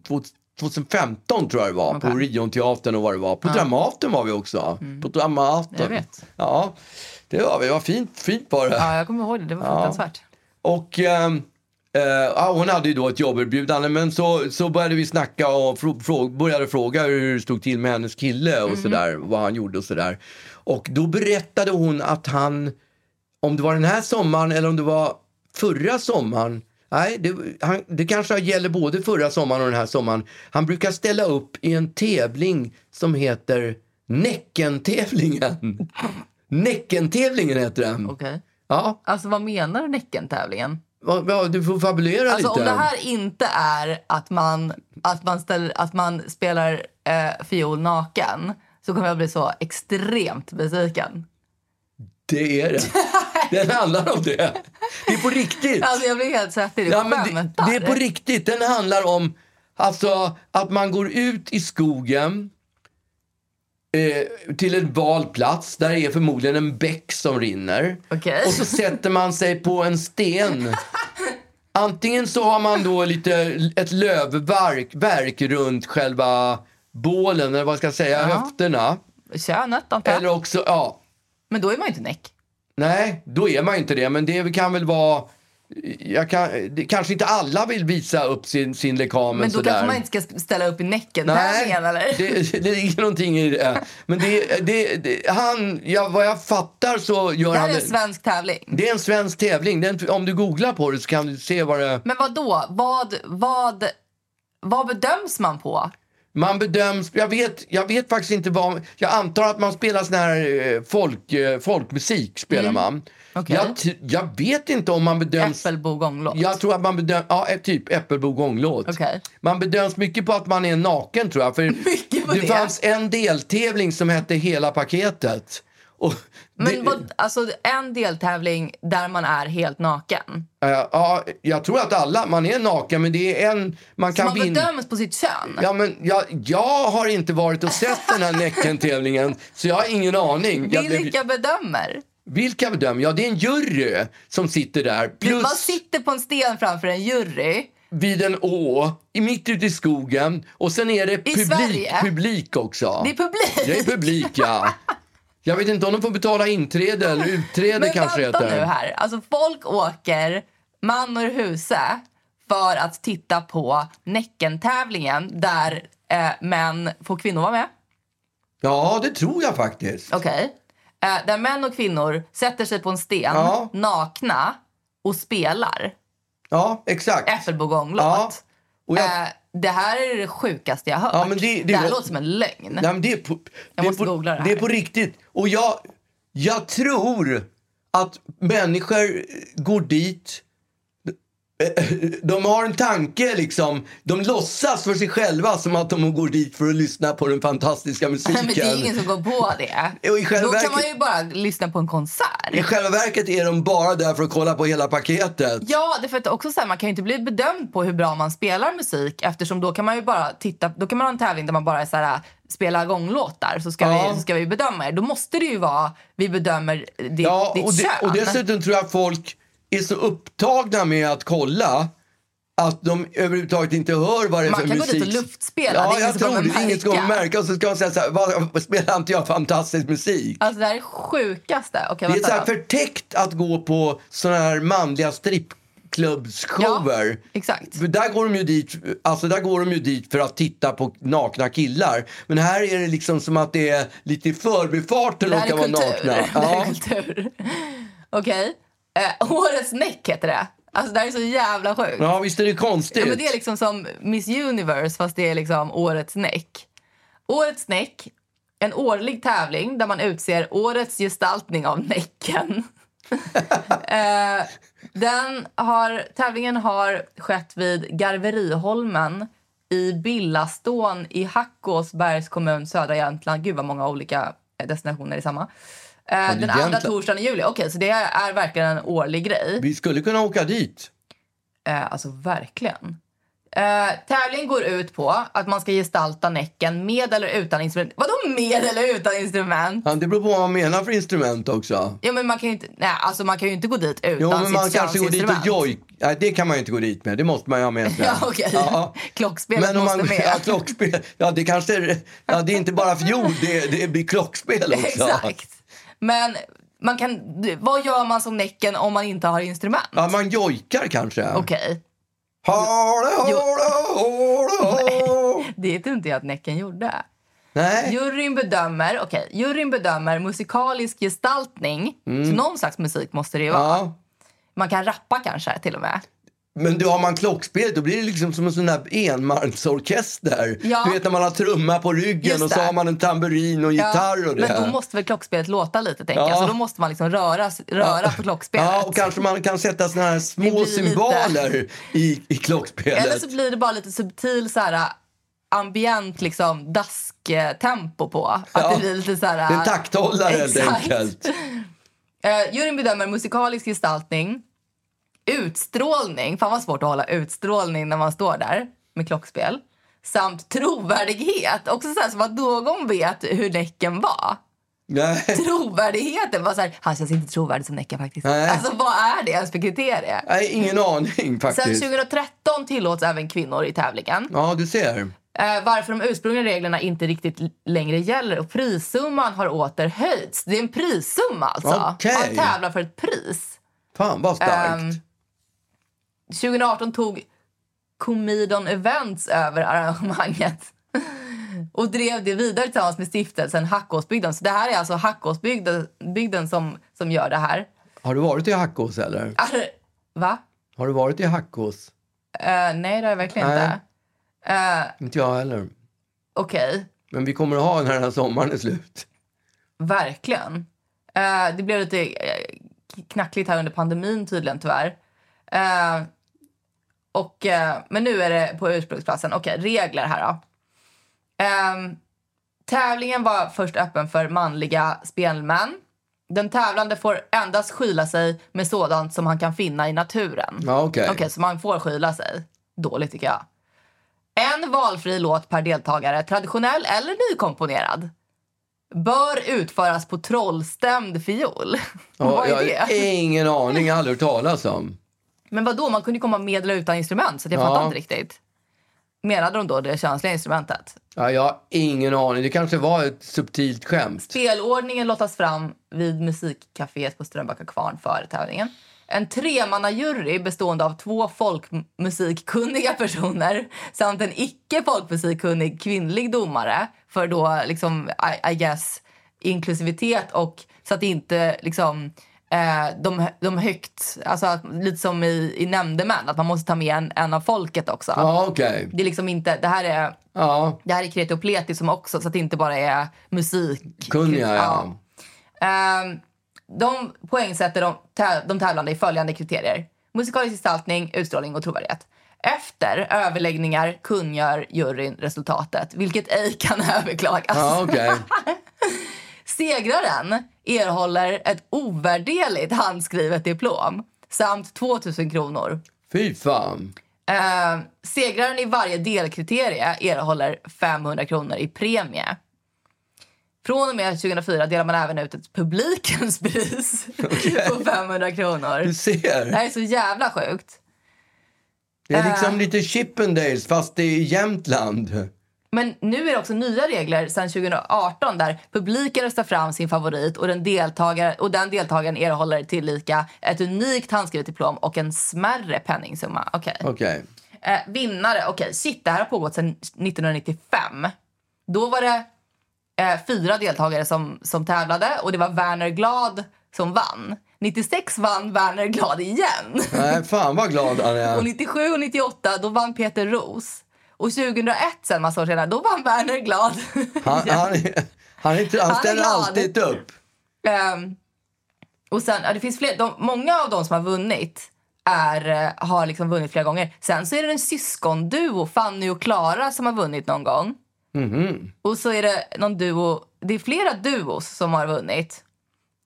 S1: två- 2015 tror jag det var. På
S2: Mm. Okej. Mm.
S1: Orionteatern och vad det var. På Dramaten var vi också. På Dramaten.
S2: Jag vet.
S1: Ja, det var vi. Det var fint, fint var det.
S2: Ja, jag kommer ihåg det. Det var fruktansvärt.
S1: Och ehm, eh, ja, hon hade ju då ett jobberbjudande men så, så började vi snacka och frå, frå, började fråga hur det stod till med hennes kille och sådär, vad han gjorde och sådär. Och då berättade hon att han, om det var den här sommaren eller om det var förra sommaren, nej det, han, det kanske gäller både förra sommaren och den här sommaren, han brukar ställa upp i en tävling som heter Näckentävlingen. Näckentävlingen heter den.
S2: Okej.
S1: Ja,
S2: Alltså vad menar du Näckentävlingen?
S1: vad- vad- du får fabulera
S2: Alltså
S1: lite.
S2: om det här inte är att man, att man, ställer, att man spelar eh, fiol naken så kommer jag bli så extremt besviken.
S1: Det är det. Den handlar om det. Det är på riktigt.
S2: Alltså jag blir helt svettig. Du
S1: Ja, men det,
S2: skämtar.
S1: det är på riktigt. Den handlar om alltså, att man går ut i skogen eh, till en valplats. Där är förmodligen en bäck som rinner.
S2: Okej.
S1: Och så sätter man sig på en sten. Antingen så har man då lite ett lövverk verk runt själva bålen, eller vad ska jag säga, höfterna.
S2: Könet antar
S1: Eller
S2: jag.
S1: också, ja,
S2: Men då är man ju inte näck.
S1: Nej, då är man inte det. Men det kan väl vara... Jag kan, det, kanske inte alla vill visa upp sin, sin lekamen
S2: Men då
S1: sådär.
S2: kanske man inte ska ställa upp i näcken
S1: Nej,
S2: tävlingen eller?
S1: det, det ligger någonting i det. Men det, det, det, han, ja, vad jag fattar så gör
S2: Det här
S1: han...
S2: är en svensk tävling.
S1: det är en svensk tävling. Det är en, om du googlar på det så kan du se vad det...
S2: Men vad då? Vad, vad, vad bedöms man på?
S1: Man bedöms... Jag vet, jag vet faktiskt inte vad... Jag antar att man spelar sån här eh, folk, eh, folkmusik. spelar man.
S2: Mm. Okej.
S1: Jag, t- jag vet inte om man bedöms...
S2: Äppelbo gånglåt?
S1: Jag tror att man bedöms... Ja, ett typ Äppelbo gånglåt.
S2: Okej.
S1: Man bedöms mycket på att man är naken, tror jag. För
S2: Mycket på
S1: det,
S2: det.
S1: fanns en deltävling som hette Hela paketet. Och
S2: Men
S1: det,
S2: vad, alltså en deltävling där man är helt naken.
S1: eh, ja, jag tror att alla... Man är naken, men det är en... Man
S2: Så
S1: kan
S2: man
S1: vinna...
S2: bedöms på sitt kön.
S1: Ja, men jag, jag har inte varit och sett den här Näcken-tävlingen, så jag har ingen aning. Jag, blev-
S2: Vilka bedömer?
S1: vilka bedömer? Ja, det är en jury som sitter där. Plus...
S2: Man sitter på en sten framför en jury.
S1: vid en å, i mitt ute i skogen. Och sen är det publik,
S2: Sverige?
S1: publik också.
S2: Det är publik.
S1: Det är publik, ja. Jag vet inte om de får betala inträde eller utträde
S2: Men
S1: kanske
S2: vänta
S1: heter.
S2: nu här. Alltså folk åker man ur huse för att titta på Näckentävlingen där eh, män, får kvinnor vara med?
S1: Ja, det tror jag faktiskt.
S2: Okej. Eh, där män och kvinnor sätter sig på en sten,
S1: Ja.
S2: nakna och spelar
S1: Ja, exakt.
S2: Äffelbo
S1: Ja.
S2: gånglåt.
S1: Och jag,
S2: Eh, det här är det sjukaste jag hört.
S1: Ja, men det- det-
S2: här låter som en lögn.
S1: nej, men det är på, det
S2: måste
S1: är på,
S2: googla det här.
S1: är på riktigt. Och jag, jag tror att människor går dit de har en tanke liksom. De låtsas för sig själva som att de går dit för att lyssna på den fantastiska musiken.
S2: Men det är ingen som går på det.
S1: Och i själva
S2: Då kan
S1: verket-
S2: man ju bara lyssna på en konsert.
S1: I själva verket är de bara där för att kolla på hela paketet.
S2: Ja, det är för att också så här, man kan ju inte bli bedömd på hur bra man spelar musik eftersom då kan man ju bara titta, då kan man ha en tävling där man bara är så här, spela gånglåtar så ska,
S1: Ja.
S2: vi, så ska vi bedöma er. Då måste det ju vara, vi bedömer ditt,
S1: Ja,
S2: ditt
S1: och,
S2: kön.
S1: de, och dessutom tror jag att folk är så upptagna med att kolla att de överhuvudtaget inte hör vad det är
S2: Man
S1: för
S2: kan gå
S1: musik.
S2: dit och luftspela, det är
S1: Ja,
S2: ingen
S1: jag
S2: som
S1: tror
S2: kommer
S1: det. Inget kommer
S2: märka.
S1: märka. Och så ska man säga så här, "Vad- spelar inte jag fantastisk musik?
S2: Alltså det här är sjukaste. Okej,
S1: Det är
S2: vänta
S1: så här
S2: då.
S1: förtäckt att gå på såna här manliga strippklubbsshower.
S2: exakt.
S1: För Där går, de ju dit, alltså där går de ju dit för att titta på nakna killar. Men här är det liksom som att det är lite i förbifarten
S2: Det
S1: de
S2: här är
S1: kan vara
S2: kultur.
S1: nakna.
S2: Det här är
S1: Ja.
S2: kultur. Okej. Eh, årets näck heter det. Alltså det här är så jävla sjukt.
S1: ja, visst är det konstigt?
S2: Ja, men det är liksom som Miss Universe fast det är liksom årets näck. Årets näck, en årlig tävling där man utser årets gestaltning av näcken. eh, den har, tävlingen har skett vid Garveriholmen i Billastån i Hackåsbergs kommun, södra Jämtland. Gud vad många olika eh, destinationer i samma. Eh, den andra
S1: Jämtland.
S2: torsdagen i juli. Okej, så det är verkligen en årlig grej.
S1: Vi skulle kunna åka dit.
S2: Eh, alltså verkligen. Eh, tävlingen går ut på att man ska gestalta näcken med eller utan instrument. Vadå med eller utan instrument?
S1: Ja, Det beror på vad man menar för instrument också.
S2: Ja, men man kan ju inte, nej, alltså man kan ju inte gå dit utan
S1: Jo,
S2: sitt
S1: men man kanske går dit och
S2: könsinstrument.
S1: joj... Nej, det kan man ju inte gå dit med. Det måste man ju ha med sig.
S2: Ja, okej.
S1: Ja.
S2: Klockspelet
S1: Men om man
S2: måste med.
S1: ja, klockspel, ja det kanske är, ja, det är inte bara fjol, det, det blir klockspel också.
S2: Exakt. Men man kan, du- vad gör man som näcken om man inte har instrument?
S1: Ja, man jojkar kanske.
S2: Okej,
S1: Håla,
S2: Jo.
S1: håla, håla, håla.
S2: det tror inte jag att näcken gjorde.
S1: Nej,
S2: Juryn bedömer, okej, juryn bedömer musikalisk gestaltning. Så någon slags musik måste det ju vara.
S1: Mm. ja.
S2: Man kan rappa kanske till och med.
S1: Men då har man klockspel, då blir det liksom som en sån där enmansorkester.
S2: Ja.
S1: Du vet när man har trumma på ryggen
S2: Just
S1: och så
S2: det.
S1: har man en tamburin och gitarr och det.
S2: Men då måste väl klockspelet låta lite, tänker
S1: Ja.
S2: jag. Så då måste man liksom röra, röra på klockspelet.
S1: Ja, och kanske man kan sätta såna här små
S2: blir lite-
S1: symboler i, i klockspelet.
S2: Eller så blir det bara lite subtil så här äh, ambient liksom dasktempo på. Att
S1: Ja.
S2: det blir lite så här...
S1: Det är en takthållare helt
S2: Exakt.
S1: enkelt.
S2: Eh, juryn bedömer musikalisk gestaltning, utstrålning, fan vad svårt att hålla utstrålning när man står där med klockspel, samt trovärdighet. Också så här som att någon vet hur Näcken var.
S1: Nej.
S2: Trovärdigheten var så här, han känns inte trovärdig som Näcken faktiskt.
S1: Nej.
S2: Alltså vad är det ens för kriterie?
S1: Nej, ingen aning
S2: Sen
S1: faktiskt.
S2: 2013 tillåts även kvinnor i tävlingen.
S1: Ja, du ser.
S2: Eh, varför de ursprungliga reglerna inte riktigt l- längre gäller och prissumman har åter höjts. Det är en prissumma alltså.
S1: Okej.
S2: Man tävlar för ett pris.
S1: Fan vad starkt.
S2: Ehm, 2018 tog Comedon Events över arrangemanget och drev det vidare tillsammans med stiftelsen Hackåsbygden. Så det här är alltså Hackåsbygden bygden som, som gör det här.
S1: Har du varit i Hackås eller?
S2: Ar- Va?
S1: Har du varit i Hackås?
S2: Eh, nej, det har jag verkligen
S1: Nej.
S2: inte. Uh,
S1: Inte jag heller.
S2: Okej,
S1: Men vi kommer att ha när den här sommaren är slut.
S2: verkligen. Eh, det blev lite eh, knackligt här under pandemin tydligen, tyvärr. Eh, och, eh, men nu är det på ursprungsplatsen. Okej, regler här då. Ehm, tävlingen var först öppen för manliga spelmän. Den tävlande får endast skyla sig med sådant som han kan finna i naturen.
S1: Ja, okej.
S2: Okej, så man får skyla sig. Dåligt tycker jag. En valfri låt per deltagare, traditionell eller nykomponerad, bör utföras på trollstämd fiol.
S1: Ja,
S2: vad är
S1: jag har
S2: det?
S1: ingen aning, jag har aldrig hört talas om.
S2: Men vadå, man kunde ju komma med eller utan instrument så att jag
S1: Ja.
S2: fattar inte riktigt. Menade de då det känsliga instrumentet?
S1: Ja, jag har ingen aning. Det kanske var ett subtilt skämt.
S2: Spelordningen lottas fram vid musikcaféet på Strömbacka kvarn före tävlingen. En tremannajury bestående av två folkmusikkunniga personer samt en icke folkmusikkunnig kvinnlig domare för då, liksom, I, I guess, inklusivitet och så att inte liksom, eh, de, de högt... Alltså, att- lite som i, i nämndemän, att man måste ta med en, en av folket också.
S1: Ja, okej.
S2: Det är liksom inte... Det här är...
S1: Ja,
S2: Det här är kreti och pleti som också, så att det inte bara är musik.
S1: kunniga ja.
S2: Ja. Ehm, de poängsätter de, tä- de tävlande i följande kriterier. Musikalisk gestaltning, utstrålning och trovärdighet. Efter överläggningar kungör juryn resultatet, vilket ej kan överklagas.
S1: Ja, okej.
S2: Segraren erhåller ett ovärderligt handskrivet diplom samt 2000 kronor.
S1: Fy fan.
S2: Eh, segraren i varje delkriterie erhåller 500 kronor i premie. Från och med 2004 delar man även ut ett publikens pris på 500 kronor.
S1: Du
S2: Det
S1: ser.
S2: här är så jävla sjukt.
S1: Det är
S2: Äh.
S1: liksom lite Chippendales fast det är i Jämtland.
S2: Men nu är det också nya regler sen 2018 där publiken röstar fram sin favorit och den, deltagare, och den deltagaren erhåller tillika ett unikt handskrivet diplom och en smärre penningsumma. Okej.
S1: Okej.
S2: Eh, vinnare, okej. Shit, det här har pågått sedan 1995. Då var det eh, fyra deltagare som, som tävlade och det var Werner Glad som vann. 96 vann Werner Glad igen.
S1: Nej, fan vad glad han
S2: Och
S1: är.
S2: 97 och 98 då vann Peter Ros. Och 2001, sen massa år senare, då vann Werner Glad.
S1: Han, han, är- han, är inte- han
S2: är
S1: ställer
S2: glad.
S1: alltid upp.
S2: Ehm, och sen, ja, det finns fler, de, många av de som har vunnit är, eh, har liksom vunnit flera gånger. Sen så är det en syskonduo, Fanny och Klara, som har vunnit någon gång.
S1: Mhm.
S2: Och så är det någon duo, det är flera duos som har vunnit.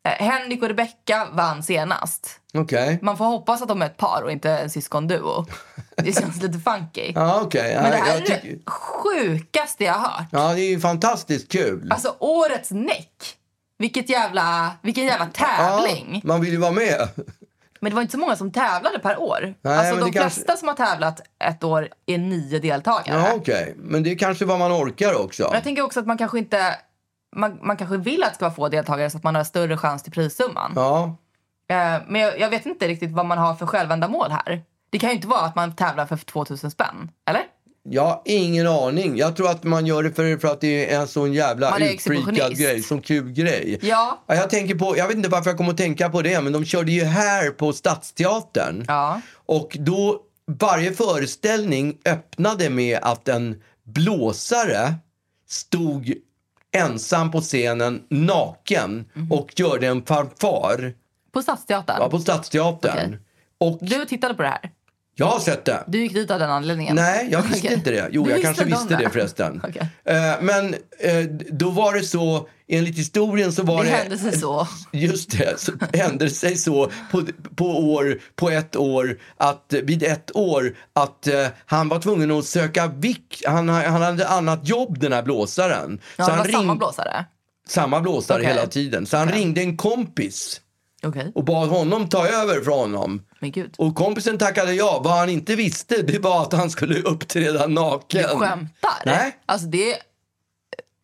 S2: Eh, Henrik och Rebecca vann senast.
S1: Okej.
S2: Man får hoppas att de är ett par och inte en syskonduo. Det känns lite funky.
S1: Ja, okej.
S2: Men det
S1: Nej,
S2: här
S1: jag
S2: är
S1: tycker-
S2: det sjukaste jag har hört.
S1: Ja, det är ju fantastiskt kul.
S2: Alltså årets näck. Vilket jävla, vilken jävla
S1: Ja,
S2: tävling.
S1: man vill ju vara med.
S2: Men det var inte så många som tävlade per år.
S1: Nej,
S2: alltså
S1: men
S2: de
S1: det kanske-
S2: flesta som har tävlat ett år är nio deltagare.
S1: Ja, okej. Men det är kanske vad man orkar också.
S2: Men jag tänker också att man kanske inte... Man, man kanske vill att det ska vara få deltagare så att man har större chans till prissumman.
S1: Ja,
S2: Eh, Men jag, jag vet inte riktigt vad man har för självändamål här. Det kan ju inte vara att man tävlar för 2000 spänn, eller?
S1: jag har ingen aning. Jag tror att man gör det för, för att det är en sån jävla
S2: Man är
S1: utfreakad
S2: exhibitionist.
S1: grej, sån kul grej.
S2: Ja.
S1: Jag, tänker på, jag vet inte varför jag kom att tänka på det, men de körde ju här på Stadsteatern.
S2: Ja.
S1: Och då, varje föreställning öppnade med att en blåsare stod ensam på scenen, naken,
S2: Mhm.
S1: och gjorde en fanfar
S2: På Stadsteatern.
S1: ja, på Stadsteatern.
S2: Okej.
S1: Och
S2: Du tittade på det här.
S1: jag har sett det.
S2: Du gick dit av den anledningen.
S1: Nej, jag visste
S2: Okej.
S1: inte det. Jo,
S2: Du
S1: jag
S2: visste
S1: kanske
S2: inte om
S1: visste det,
S2: det.
S1: förresten.
S2: Okej.
S1: Eh, men eh, då var det så, enligt historien så var
S2: Det
S1: det...
S2: hände sig så.
S1: Just det, så hände det sig så på, på, år, på ett år, att eh, vid ett år, att eh, han var tvungen att söka vik. Han, han hade annat jobb den här blåsaren.
S2: Ja, det var
S1: han
S2: samma
S1: ring-
S2: blåsare.
S1: samma blåsare
S2: Okej.
S1: hela tiden. Så han ringde en kompis
S2: Okej.
S1: och bad honom ta över från honom.
S2: Men gud.
S1: Och kompisen tackade ja. Vad han inte visste det var att han skulle uppträda naken.
S2: Du skämtar?
S1: Nej.
S2: Alltså det,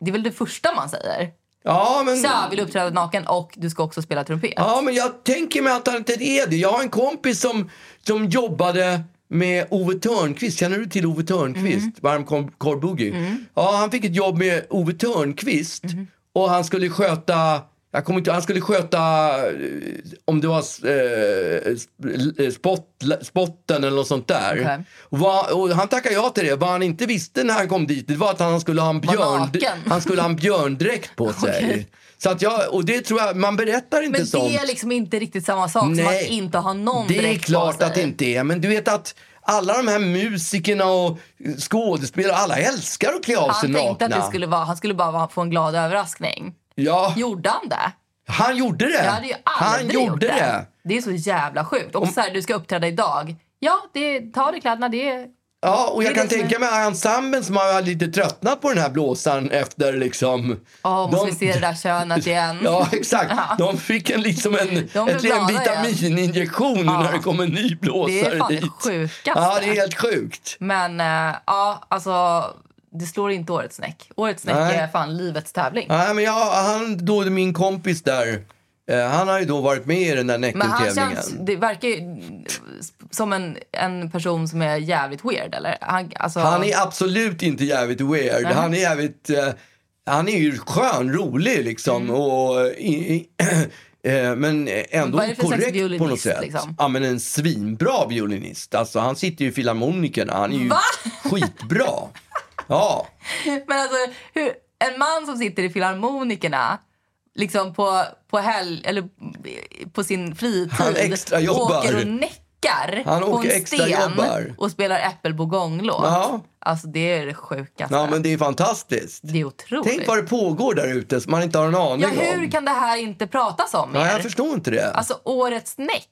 S2: det är väl det första man säger?
S1: Ja, men...
S2: Tja, vill du uppträda naken och du ska också spela trumpet.
S1: Mm. Ja, men jag tänker mig att han inte är det. Jag har en kompis som, som jobbade med Ove Törnqvist. Känner du till Ove
S2: Mm.
S1: Törnqvist? Varm kom- korvboogie. Ja, han fick ett jobb med Ove Törnqvist
S2: Mm.
S1: och han skulle sköta jag kommer inte, han skulle sköta eh, om det var eh, sp- eh, spott, spotten eller något sånt där.
S2: Okej.
S1: Och vad- och han tackade ja till det. Vad han inte visste när han kom dit det var att han skulle ha en, björn,
S2: naken.
S1: han skulle ha en björndräkt på sig. Så att jag, och det tror jag, man berättar inte
S2: Men
S1: sånt.
S2: det är liksom inte riktigt samma sak som
S1: Nej.
S2: att inte ha någon
S1: Det är
S2: dräkt
S1: klart
S2: på
S1: att det
S2: sig.
S1: inte är, men du vet att alla de här musikerna och skådespelarna, alla älskar att klä av sig
S2: Han tänkte
S1: nakna.
S2: att det skulle vara, han skulle bara vara- få en glad överraskning.
S1: Ja,
S2: Gjorde han det?
S1: han gjorde det.
S2: Jag hade ju
S1: han
S2: aldrig
S1: gjorde
S2: gjort
S1: det.
S2: Det är så jävla sjukt. Och så här, du ska uppträda idag. Ja, det, ta dig kläderna. Det är...
S1: Ja, och jag
S2: Det är
S1: kan
S2: det som
S1: tänka mig ensemblen som har lite tröttnat på den här blåsaren efter liksom...
S2: Åh, måste
S1: De-
S2: vi se det där könet igen?
S1: Ja, exakt. De fick en, liksom en,
S2: De
S1: en
S2: blev
S1: liten
S2: glada igen.
S1: vitamininjektion när det kom en ny blåsare
S2: Det är fan det
S1: dit.
S2: sjukaste.
S1: Ja, det är helt sjukt.
S2: Men eh, ja, alltså det slår inte årets snäck. Årets snäck
S1: Nej.
S2: är fan livets tävling.
S1: Nej, men jag, han, då, min kompis där, eh, han har ju då varit med i den där
S2: Men han
S1: näckeltävlingen.
S2: känns, det verkar ju som en, en person som är jävligt weird eller? Han, alltså,
S1: Han är absolut inte jävligt weird. Han är jävligt... eh, han är ju skön, rolig liksom.
S2: Mm.
S1: Och, eh, i, i, eh, men ändå
S2: Vad är det för slags
S1: korrekt på något
S2: violinist,
S1: sätt.
S2: liksom?
S1: Ja, men en svinbra violinist. Alltså, han sitter ju i Filharmonikerna. Han är ju
S2: Va?
S1: skitbra. Ja.
S2: Men alltså, hur, en man som sitter i Filharmonikerna liksom på, på helg, eller på sin fritid
S1: Han extrajobbar.
S2: åker och näcker duckar
S1: Han
S2: på
S1: åker
S2: en
S1: extra
S2: sten
S1: jobbar.
S2: och spelar Äppelbogong-låt.
S1: Ja.
S2: Alltså det är det sjukaste.
S1: Ja, men det är fantastiskt.
S2: Det är otroligt.
S1: Tänk vad det pågår där ute som man inte har en aning
S2: ja, hur
S1: om.
S2: kan det här inte pratas om
S1: Nej,
S2: mer?
S1: jag förstår inte det.
S2: Alltså årets näck.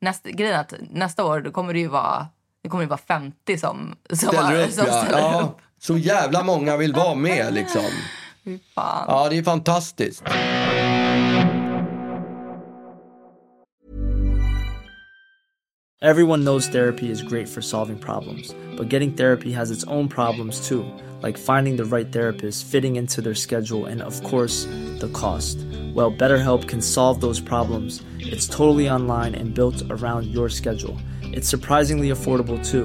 S2: Nästa, grejen är att nästa år då kommer det ju vara, det kommer ju vara 50 som, som,
S1: ställer
S2: har-
S1: upp,
S2: som
S1: ja.
S2: ställer upp.
S1: ja. Så jävla många vill vara med liksom.
S2: Fan.
S1: Ja, det är fantastiskt.
S3: Everyone knows therapy is great for solving problems, but getting therapy has its own problems too, like finding the right therapist, fitting into their schedule, and of course, the cost. Well, BetterHelp can solve those problems. It's totally online and built around your schedule. It's surprisingly affordable too.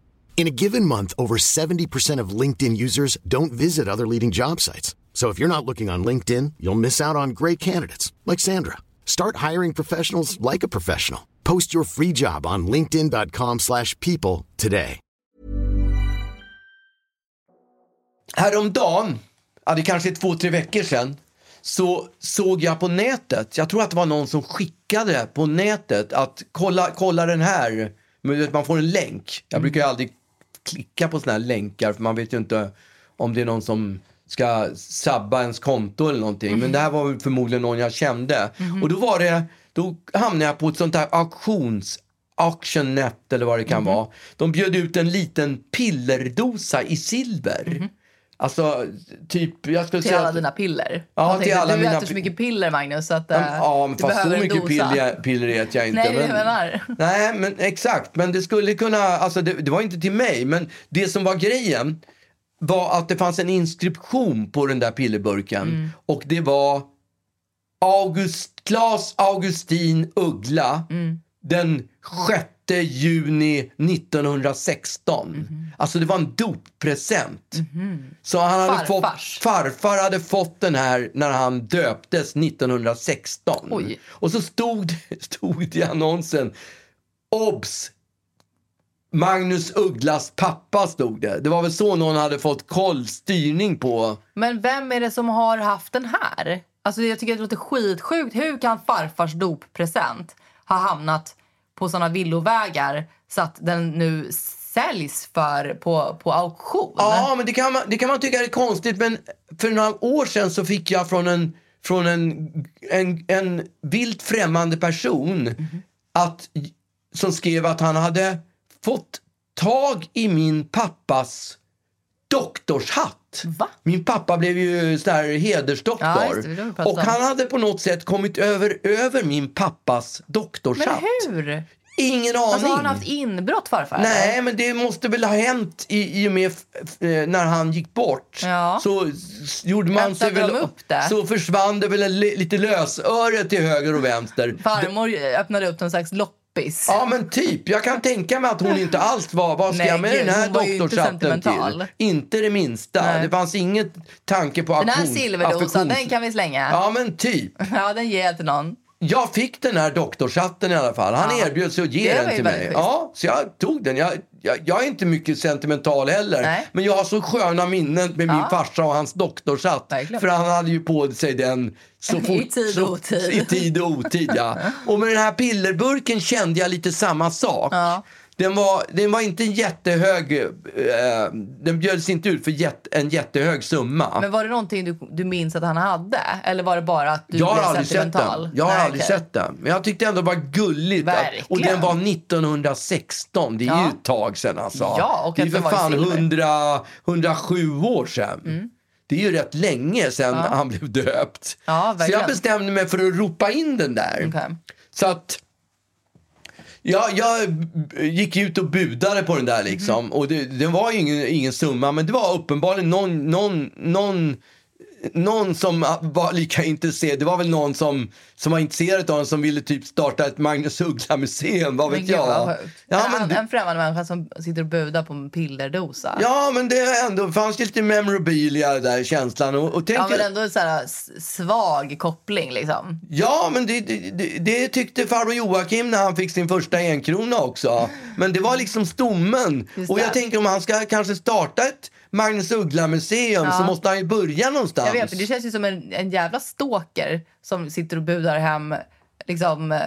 S4: In a given month, over 70% of LinkedIn users don't visit other leading job sites. So if you're not looking on LinkedIn, you'll miss out on great candidates like Sandra. Start hiring professionals like a professional. Post your free job on linkedin.com/people slash people today.
S1: Häromdagen, ja, det kanske är två, tre veckor sedan, så såg jag på nätet, jag tror att det var någon som skickade på nätet att kolla, kolla den här, Men du vet, man får en länk. Jag brukar ju aldrig klicka på såna här länkar för man vet ju inte om det är någon som ska sabba ens konto eller någonting. Men det här var väl förmodligen någon jag kände. Och då var det, då hamnade jag på ett sånt här auktions Auctionnet eller vad det kan vara. De bjöd ut en liten pillerdosa i silver. Alltså, typ... Jag skulle
S2: Till
S1: säga
S2: alla
S1: att-
S2: dina piller.
S1: Ja,
S2: Jag tänkte
S1: till
S2: att
S1: alla
S2: du
S1: mina
S2: äter så
S1: pi-
S2: mycket piller, Magnus, så att eh,
S1: Ja, men
S2: du
S1: fast så
S2: behöver en
S1: mycket
S2: dosa.
S1: piller, jag- piller äter jag inte.
S2: Nej, det är det jag menar.
S1: nej, men exakt. Men det skulle kunna... Alltså, det, det var inte till mig, men det som var grejen var att det fanns en inskription på den där pillerburken.
S2: Mm.
S1: Och det var August, Claes Augustin Uggla
S2: Mm.
S1: den 6 juni 1916.
S2: Mhm.
S1: Alltså det var en doppresent. Så han hade
S2: Farfars.
S1: fått, farfar hade fått den här när han döptes 1916.
S2: Oj.
S1: Och så stod, det- stod det i annonsen, obs! Magnus Ugglas pappa stod det. Det var väl så någon hade fått koll, styrning på.
S2: Men vem är det som har haft den här? Alltså jag tycker att det låter skitsjukt. Hur kan farfars doppresent ha hamnat på såna villovägar så att den nu säljs för på, på auktion?
S1: Ja, men det kan, man, det kan man tycka är konstigt. Men för några år sedan så fick jag från en, från en, en, en vilt främmande person
S2: Mhm.
S1: att, som skrev att han hade fått tag i min pappas doktorshatt.
S2: Va?
S1: Min pappa blev ju sån här hedersdoktor.
S2: Ja, just det, det har vi pratat
S1: och
S2: om.
S1: han hade på något sätt kommit över, över min pappas
S2: Men
S1: doktorshatt.
S2: hur?
S1: Ingen aning.
S2: Alltså har han haft inbrott farfar? eller?
S1: Nej, men det måste väl ha hänt i, i och med f- f- eh, när han gick bort.
S2: Ja.
S1: Så s- gjorde man sig
S2: Hämtade
S1: väl,
S2: de upp det?
S1: så försvann det väl en li- lite lösöre till höger och vänster.
S2: Farmor öppnade upp någon slags loppis.
S1: Ja men typ, jag kan tänka mig att hon inte alls var, vad ska
S2: Nej,
S1: jag med
S2: gud,
S1: den här
S2: hon var ju inte
S1: doktorshatten till?
S2: sentimental.
S1: Inte det minsta.
S2: Nej.
S1: Det fanns inget tanke på
S2: Den här
S1: auktion-
S2: silverdosan,
S1: affektions-
S2: den kan vi slänga. Ja.
S1: Ja men typ.
S2: den ger jag till någon.
S1: Jag fick den här doktorshatten i alla fall. Han
S2: Ja.
S1: erbjöd sig att ge
S2: Det var
S1: den
S2: ju
S1: till
S2: väldigt
S1: mig.
S2: schysst.
S1: Ja, så jag tog den. Jag, jag, jag är inte mycket sentimental heller.
S2: Nej.
S1: Men jag har så sköna minnen med min farsa och hans doktorshatt.
S2: Verkligen.
S1: För han hade ju på sig den så
S2: I
S1: fort,
S2: tid och otid.
S1: Så, I tid och otid, ja. Och med den här pillerburken kände jag lite samma sak.
S2: Ja.
S1: Den, var, den var inte jättehög. Eh, den bjöds inte ut för jätt, en jättehög summa.
S2: Men var det någonting du, du minns att han hade? Eller var det bara att du
S1: Jag har
S2: blev
S1: aldrig sett
S2: sentimental?
S1: den. Jag har
S2: Nej,
S1: aldrig
S2: okej.
S1: sett den. Men jag tyckte ändå det var gulligt. Att, och den
S2: Verkligen.
S1: var 1916. Det är ju
S2: Ja.
S1: ett tag sedan alltså.
S2: Ja, och
S1: det är
S2: att
S1: ju för
S2: den var i
S1: fan
S2: silver. Mm.
S1: 100, 107 år sedan. Det är ju rätt länge sedan han blev döpt.
S2: Ja,
S1: Så jag
S2: verkligen.
S1: bestämde mig för att ropa in den där.
S2: Okej.
S1: Så att jag, jag gick ut och budade på den där
S2: Mm.
S1: liksom. Och det, det var ju ingen, ingen summa, men det var uppenbarligen någon, någon, någon någon som var lika intresserad, det var väl någon som, som var intresserad av honom som ville typ starta ett Magnus Uggla-museum, vad vet
S2: gud, vad
S1: jag?
S2: sjukt.
S1: Ja
S2: en,
S1: men, det,
S2: en främmande människa som sitter och budar på en pillerdosa.
S1: ja, men det är ändå fanns lite memorabilia där känslan. Och, och tänk,
S2: Ja, men ändå så här, s- svag koppling liksom.
S1: Ja, men det, det, det- det tyckte farbror Joakim när han fick sin första enkrona också. Men det var liksom stommen.
S2: Just
S1: Och jag
S2: det.
S1: tänker om han ska kanske starta ett Magnus Uggla-museum så måste han ju börja någonstans.
S2: Jag vet, men det känns ju som en, en jävla stalker som sitter och budar hem liksom, eh,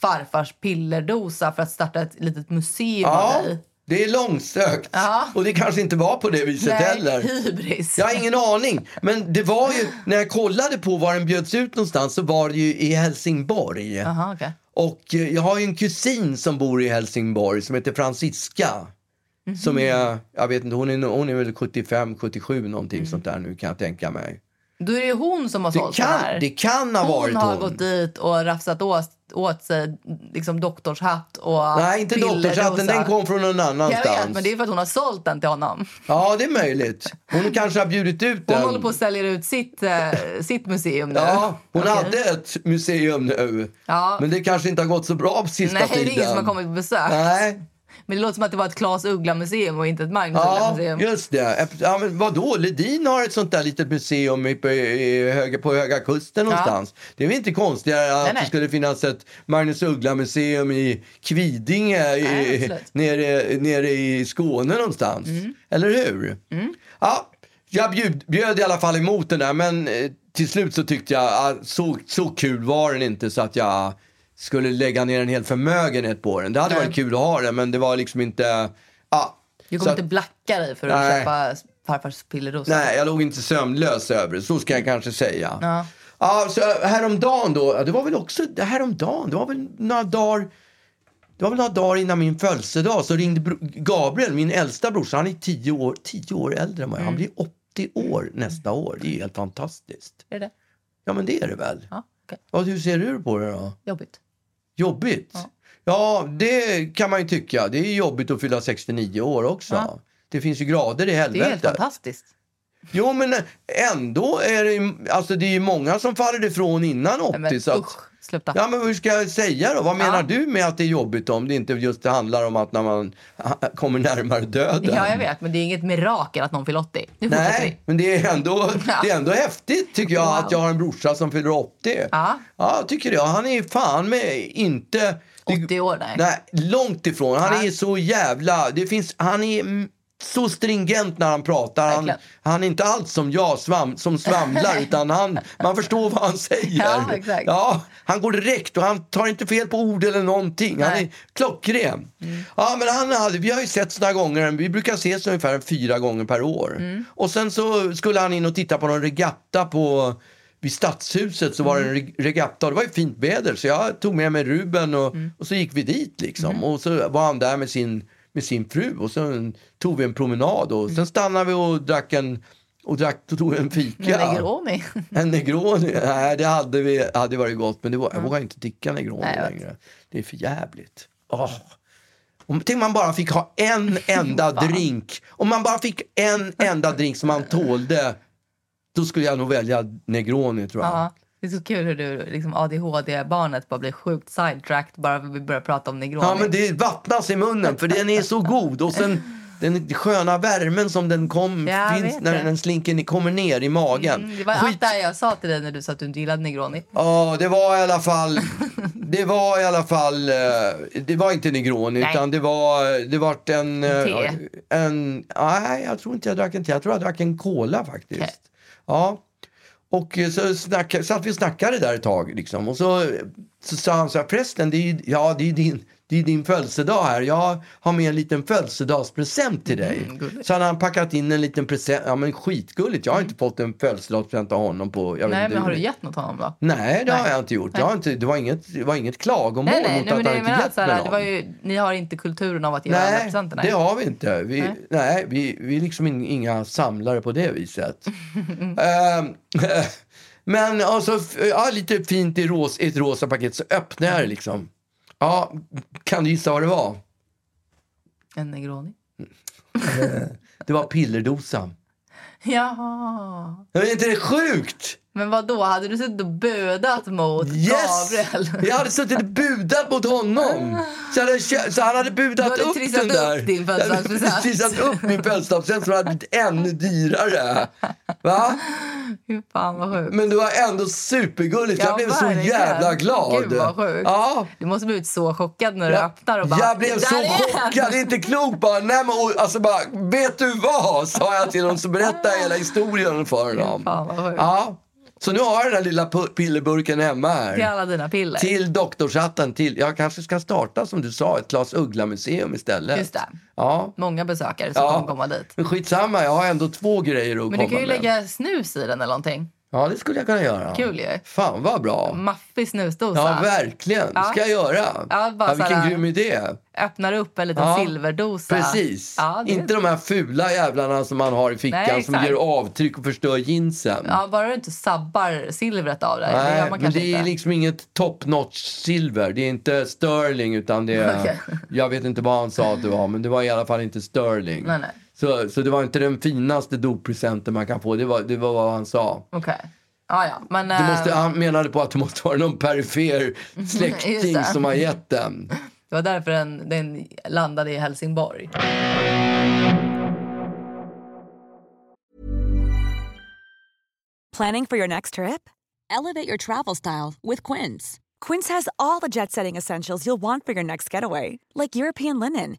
S2: farfars pillerdosa för att starta ett litet museum
S1: ja,
S2: av dig.
S1: det är långsökt.
S2: Ja.
S1: Och det kanske inte var på det viset heller.
S2: hybris.
S1: Jag har ingen aning. Men det var ju, när jag kollade på var den bjöds ut någonstans så var det ju i Helsingborg.
S2: Aha, okej.
S1: Och eh, jag har ju en kusin som bor i Helsingborg som heter Franziska.
S2: Mhm.
S1: Som är, jag vet inte, hon är, hon är väl 75, 77 någonting sånt där nu kan jag tänka mig.
S2: Då är det ju hon som har
S1: Det
S2: sålt den
S1: kan,
S2: här.
S1: det kan ha varit
S2: hon har
S1: hon.
S2: gått dit och rafsat åt, åt sig liksom doktorshatt och
S1: Nej, inte
S2: pillerdosa.
S1: doktorshatten, den kom från någon
S2: Jag
S1: annanstans.
S2: vet, men det är för att hon har sålt den till honom.
S1: Ja, det är möjligt. Hon kanske har bjudit ut
S2: Hon
S1: den.
S2: håller på att sälja ut sitt, eh, sitt museum nu.
S1: Ja, hon
S2: Okej.
S1: hade ett museum nu.
S2: Ja.
S1: Men det kanske inte har gått så bra på sista
S2: Nej, det
S1: tiden.
S2: är ingen som har kommit på besök.
S1: Nej,
S2: Men det låter som att det var ett Claes Uggla-museum och inte ett Magnus
S1: Ja,
S2: Uggla-museum.
S1: just det. Ja, men vadå? Ledin har ett sånt där litet museum i, på, i, höga, på Höga Kusten någonstans. Det är väl inte konstigare att
S2: Nej, nej.
S1: det skulle finnas ett Magnus Uggla-museum i Kvidinge
S2: Nej,
S1: i,
S2: absolut. Mm.
S1: nere, nere i Skåne någonstans. Eller hur? Ja, jag bjöd, bjöd i alla fall emot den där, men eh, till slut så tyckte jag att så, så kul var den inte så att jag skulle lägga ner en hel förmögenhet på den. Det hade varit kul att ha den, men det var liksom inte... Ja,
S2: Du
S1: så
S2: kommer
S1: att-
S2: inte blacka dig för att
S1: Nej.
S2: köpa farfars pillerdosa.
S1: Nej, jag låg inte sömnlös över det. Så ska jag kanske säga. Ja. så häromdagen då, ja, det var väl också häromdagen, det var väl några dagar det var väl några dagar innan min födelsedag så ringde bro- Gabriel, min äldsta brorsa, han är tio år, tio år äldre än mig.
S2: Mm.
S1: Han blir 80 år nästa år. Det är ju helt fantastiskt.
S2: Är det det?
S1: Ja men det är det väl?
S2: Ja, okej.
S1: Ja, hur ser du på det då?
S2: Jobbigt.
S1: Jobbigt? Ja. det kan man ju tycka. Det är ju jobbigt att fylla 69 år också.
S2: Ja.
S1: Det finns ju grader i
S2: Det är
S1: helvetet.
S2: helt fantastiskt.
S1: Jo, men ändå är det ju- alltså det är ju många som faller ifrån innan 80.
S2: Nej, Men,
S1: så att,
S2: usch, sluta.
S1: Ja, men hur ska jag säga då? Vad menar
S2: Ja.
S1: du med att det är jobbigt om det inte just det handlar om att när man ha, kommer närmare döden?
S2: ja, jag vet. Men det är inget mirakel att någon fyller 80. Nu fortsätter vi.
S1: Nej, men det är ändå, det är ändå häftigt tycker jag att jag har en brorsa som fyller 80.
S2: Ja.
S1: ja tycker jag. Han är fan med inte... det-
S2: 80 år, nej.
S1: Nej, långt ifrån. Han
S2: Nej.
S1: är så jävla... Det finns, han är mm, så stringent när han pratar. Han,
S2: Verkligen.
S1: han är inte alls som jag svam, som svamlar, utan han, man förstår vad han säger.
S2: Ja, exakt.
S1: Ja, han går direkt och han tar inte fel på ord eller någonting. Han
S2: Nej.
S1: är klockren. Ja, men han hade, vi har ju sett några gånger, vi brukar ses ungefär fyra gånger per år. Och sen så skulle han in och titta på någon regatta på vid Stadshuset så var det en reg- regatta och det var ju fint väder så jag tog med mig Ruben och, och så gick vi dit liksom. Och så var han där med sin, med sin fru och sen tog vi en promenad och sen stannade vi och drack en och drack och tog en fika.
S2: Men Negromi.
S1: En Negroni? Nej, det hade, vi, hade varit gott, men det var, jag vågar inte dricka Negroni
S2: Nej, jag vet.
S1: längre. Det är för jävligt. Åh. Om, tänk om man bara fick ha en enda drink. Om man bara fick en enda drink som man tålde, då skulle jag nog välja Negroni, tror jag.
S2: Ja. Det är så kul hur du, liksom ADHD-barnet, bara blir sjukt sidetracked bara för att vi börjar prata om Negroni.
S1: Ja, men det vattnas i munnen för den är så god. Och sen den sköna värmen som den kom,
S2: Ja, jag
S1: finns
S2: vet
S1: när
S2: det.
S1: den slinker ni- kommer ner i magen.
S2: Mm, det var allt det här jag sa till dig när du sa att du inte gillade Negroni.
S1: Ja, det var i alla fall... Det var i alla fall... eh, Det var inte Negroni,
S2: Nej.
S1: utan det var... Det var en... eh,
S2: Te.
S1: en nej, jag tror inte jag drack en te. Jag tror jag drack en cola faktiskt.
S2: Okej.
S1: Ja. Och eh, så snacka, satt vi och snackade där ett tag. Liksom. Och så, så sa han så här, prästen, det är, ju- ja, det är din, det är din födelsedag här. Jag har med en liten födelsedagspresent till dig.
S2: Mm,
S1: så hade han packat in en liten present. Ja, men skitgulligt. Jag har inte fått en födelsedagspresent av honom på... Jag vet
S2: Nej,
S1: inte
S2: men har
S1: hur-
S2: du gett något honom då?
S1: Nej, det har jag inte gjort. Jag har inte, det, var inget, det var inget klagomål
S2: Nej, nej,
S1: mot
S2: nej
S1: att
S2: men det
S1: han
S2: jag
S1: inte
S2: menar
S1: gett
S2: så
S1: mig
S2: här, det
S1: någon.
S2: var ju, ni har inte kulturen av att ge varandra
S1: Nej,
S2: presenter.
S1: det har vi inte. Vi, nej. vi, vi är liksom in- inga samlare på det viset. Ehm, men alltså, f- ja, lite fint i ros, i ett rosa paket så öppnar jag det liksom. Ja, kan du gissa vad det var?
S2: En Negroni.
S1: Det var pillerdosa.
S2: Jaha.
S1: Men Är inte det sjukt?
S2: Men vad då Hade du suttit och budat mot
S1: Yes!
S2: Gabriel?
S1: Jag hade suttit och budat mot honom. Så, hade, jag kö- så han hade
S2: Du
S1: budat
S2: hade
S1: upp
S2: trissat
S1: den där.
S2: upp din födelsedagspresent.
S1: Jag hade trissat upp min födelsedagspresent som hade blivit ännu dyrare. Va?
S2: Fy fan vad sjukt.
S1: Men det var ändå supergulligt.
S2: Ja,
S1: jag blev så
S2: verkligen.
S1: jävla glad.
S2: Gud, vad sjukt.
S1: Ja.
S2: Du måste blivit så chockad när du öppnar och bara...
S1: jag blev
S2: "Där
S1: så
S2: är den!"
S1: chockad, det är inte klokt bara. Nej, men, och, alltså, bara. Vet du vad? Sa jag till honom så berättade jag hela historien för
S2: Fan,
S1: honom.
S2: vad sjukt.
S1: Ja. Så nu har jag den här lilla pu- pillerburken hemma här.
S2: Till alla dina piller.
S1: Till doktorshatten. Till, jag kanske ska starta som du sa, ett Klas Uggla-museum istället.
S2: Just det.
S1: Ja.
S2: Många besökare som
S1: Ja.
S2: kommer komma dit.
S1: Men skitsamma, jag har ändå två grejer att
S2: Men
S1: komma
S2: du kan ju
S1: med.
S2: lägga snus i den eller någonting.
S1: Ja, det skulle jag kunna göra.
S2: Kul Mm, ju.
S1: Fan vad bra.
S2: Maffig snusdosa.
S1: Ja, verkligen. Det ska jag göra.
S2: Ja, bara
S1: vilken
S2: såhär-
S1: grym idé.
S2: Öppnar upp en liten
S1: Ja,
S2: silverdosa.
S1: Precis.
S2: Ja, det...
S1: Inte de här fula jävlarna som man har i fickan
S2: Nej,
S1: som
S2: exakt.
S1: gör avtryck och förstör jeansen.
S2: ja, bara du inte sabbar silvret av det. det gör
S1: Nej,
S2: man
S1: men
S2: kanske
S1: det är
S2: inte.
S1: liksom inget top notch silver. Det är inte sterling utan det är...
S2: Okej.
S1: Jag vet inte vad han sa att det var, men det var i alla fall inte sterling.
S2: Nej, nej.
S1: Så, så det var inte den finaste doppresenten man kan få. Det var, det var vad han sa.
S2: Okej. Ja, ja. Men,
S1: Du
S2: eh,
S1: måste, han menade på att det måste vara någon perifer
S2: Mm, Just
S1: släkting
S2: det.
S1: som har gett den.
S2: Det var därför den, den landade i Helsingborg.
S5: Planning for your next trip?
S6: Elevate your travel style with Quince.
S5: Quince has all the jet setting essentials you'll want for your next getaway, like European linen,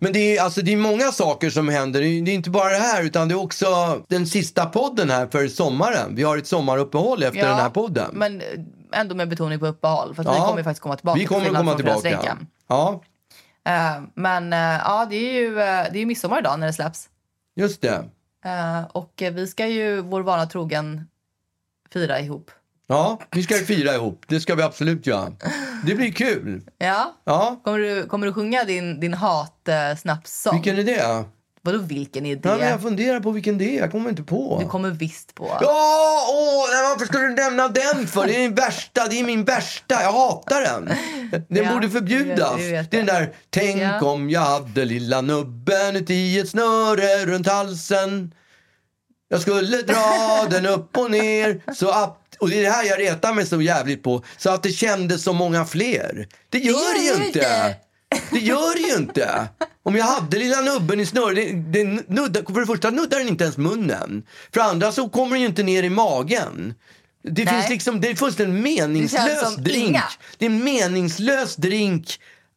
S1: Men det är, alltså, det är många saker som händer. Det är det är inte bara det här, utan det är också den sista podden här för sommaren. Vi har ett sommaruppehåll efter
S2: Ja,
S1: den här podden.
S2: Men eh, ändå med betoning på uppehåll. För att vi
S1: Ja,
S2: kommer ju faktiskt komma tillbaka.
S1: Vi kommer
S2: till
S1: att
S2: skillnad
S1: komma tillbaka.
S2: från fredagsveckan.
S1: Ja,
S2: Eh, men eh, ja, det är ju eh, det är ju midsommar idag när det släpps.
S1: just det.
S2: Eh, och eh, vi ska ju vår vana trogen fira ihop.
S1: Ja, vi ska fira ihop. Det ska vi absolut göra. Det blir kul.
S2: Ja.
S1: Ja,
S2: Kommer du, kommer du sjunga din, din hat-snapssång?
S1: vilken är det?
S2: Vadå vilken idé?
S1: Ja, men jag funderar på vilken det är. Jag kommer inte på.
S2: Du kommer visst på.
S1: Ja, åh, nej, varför skulle du nämna den för? Det är den värsta, det är min värsta, jag hatar den. Den
S2: Ja,
S1: borde förbjudas.
S2: du vet- du vet
S1: det är den där, tänk
S2: Ja.
S1: om jag hade lilla nubben uti ett snöre runt halsen. Jag skulle dra den upp och ner så att, och det är det här jag retar mig så jävligt på, så att det kändes som många fler. Det gör det ju inte. Det gör det ju inte. Om jag hade lilla nubben i snör, det, det nuddar, för det första nuddar den inte ens munnen. För det andra så kommer den ju inte ner i magen. Det,
S2: Nej.
S1: finns liksom, det är fullständigt meningslös
S2: som
S1: drink.
S2: inga.
S1: Det är en meningslös drink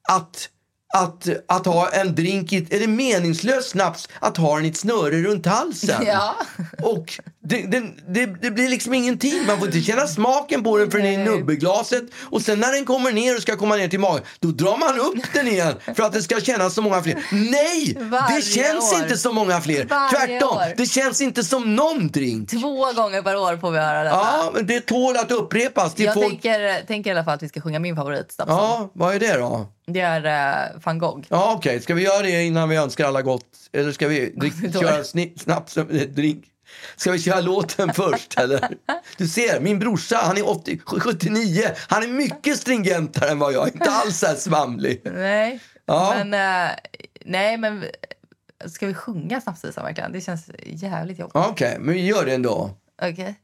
S1: att, att, att ha en drink i, ett- eller meningslös snaps att ha den i ett snöre runt halsen.
S2: Ja.
S1: Och det, den- det, det blir liksom ingenting. Man får inte känna smaken på den för den är i nubbeglaset. Och sen när den kommer ner och ska komma ner till magen, då drar man upp den igen för att det ska kännas som många fler. Nej!
S2: Varje
S1: det känns
S2: år.
S1: inte som många fler.
S2: Varje
S1: Tvärtom,
S2: år.
S1: det känns inte som någon drink.
S2: Två gånger per år får vi höra detta.
S1: Ja, men det tål att upprepas. Till
S2: jag
S1: folk...
S2: tänker, eh, tänker i alla fall att vi ska sjunga min favoritsnapssång.
S1: Ja, vad är det då?
S2: Det är uh, van Gogh.
S1: Ja, okej. Ska vi göra det innan vi önskar alla gott? Eller ska vi drick,
S2: Då.
S1: köra sni- snaps eh, drink? Ska vi köra låten först eller? Du ser, min brorsa han är 80, 79. Han är mycket stringentare än vad jag är. Inte alls så här svamlig.
S2: Nej.
S1: Ja.
S2: Men, eh, nej, men eh, ska vi sjunga snapsvisan verkligen? Det känns jävligt jobbigt.
S1: Okej, men vi gör det ändå.
S2: Okej.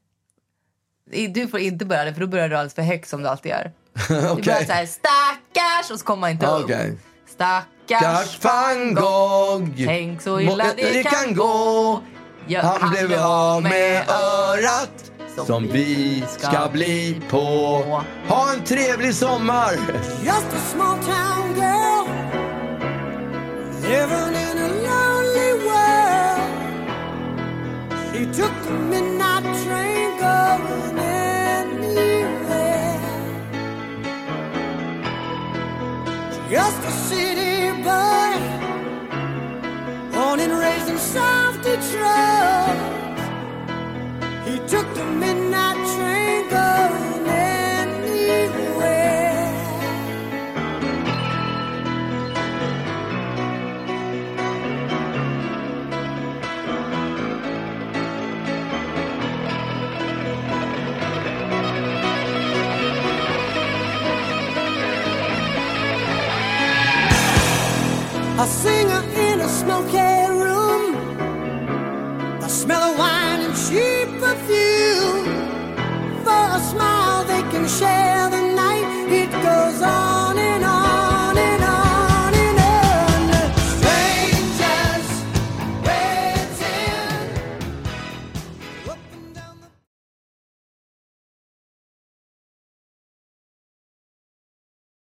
S2: I- Du får inte börja det, för då börjar du alldeles för högt som du alltid gör. Du börjar
S1: Okej.
S2: så här, stackars, och så kommer man inte upp.
S1: Okej.
S2: Stackars
S1: Stackars van Gogh.
S2: Tänk så illa
S1: Må-
S2: det kan
S1: gå.
S2: Ja,
S1: Han blev av med örat.
S2: som vi ska bli på. Ha en trevlig sommar!
S1: Just a small town girl living in a lonely world. She took the midnight train going anywhere. Just a city boy, born and raised in South Detroit. He took the midnight train going anywhere. A singer in a smoky room. The smell of wine and cheap perfume. For a smile they can share.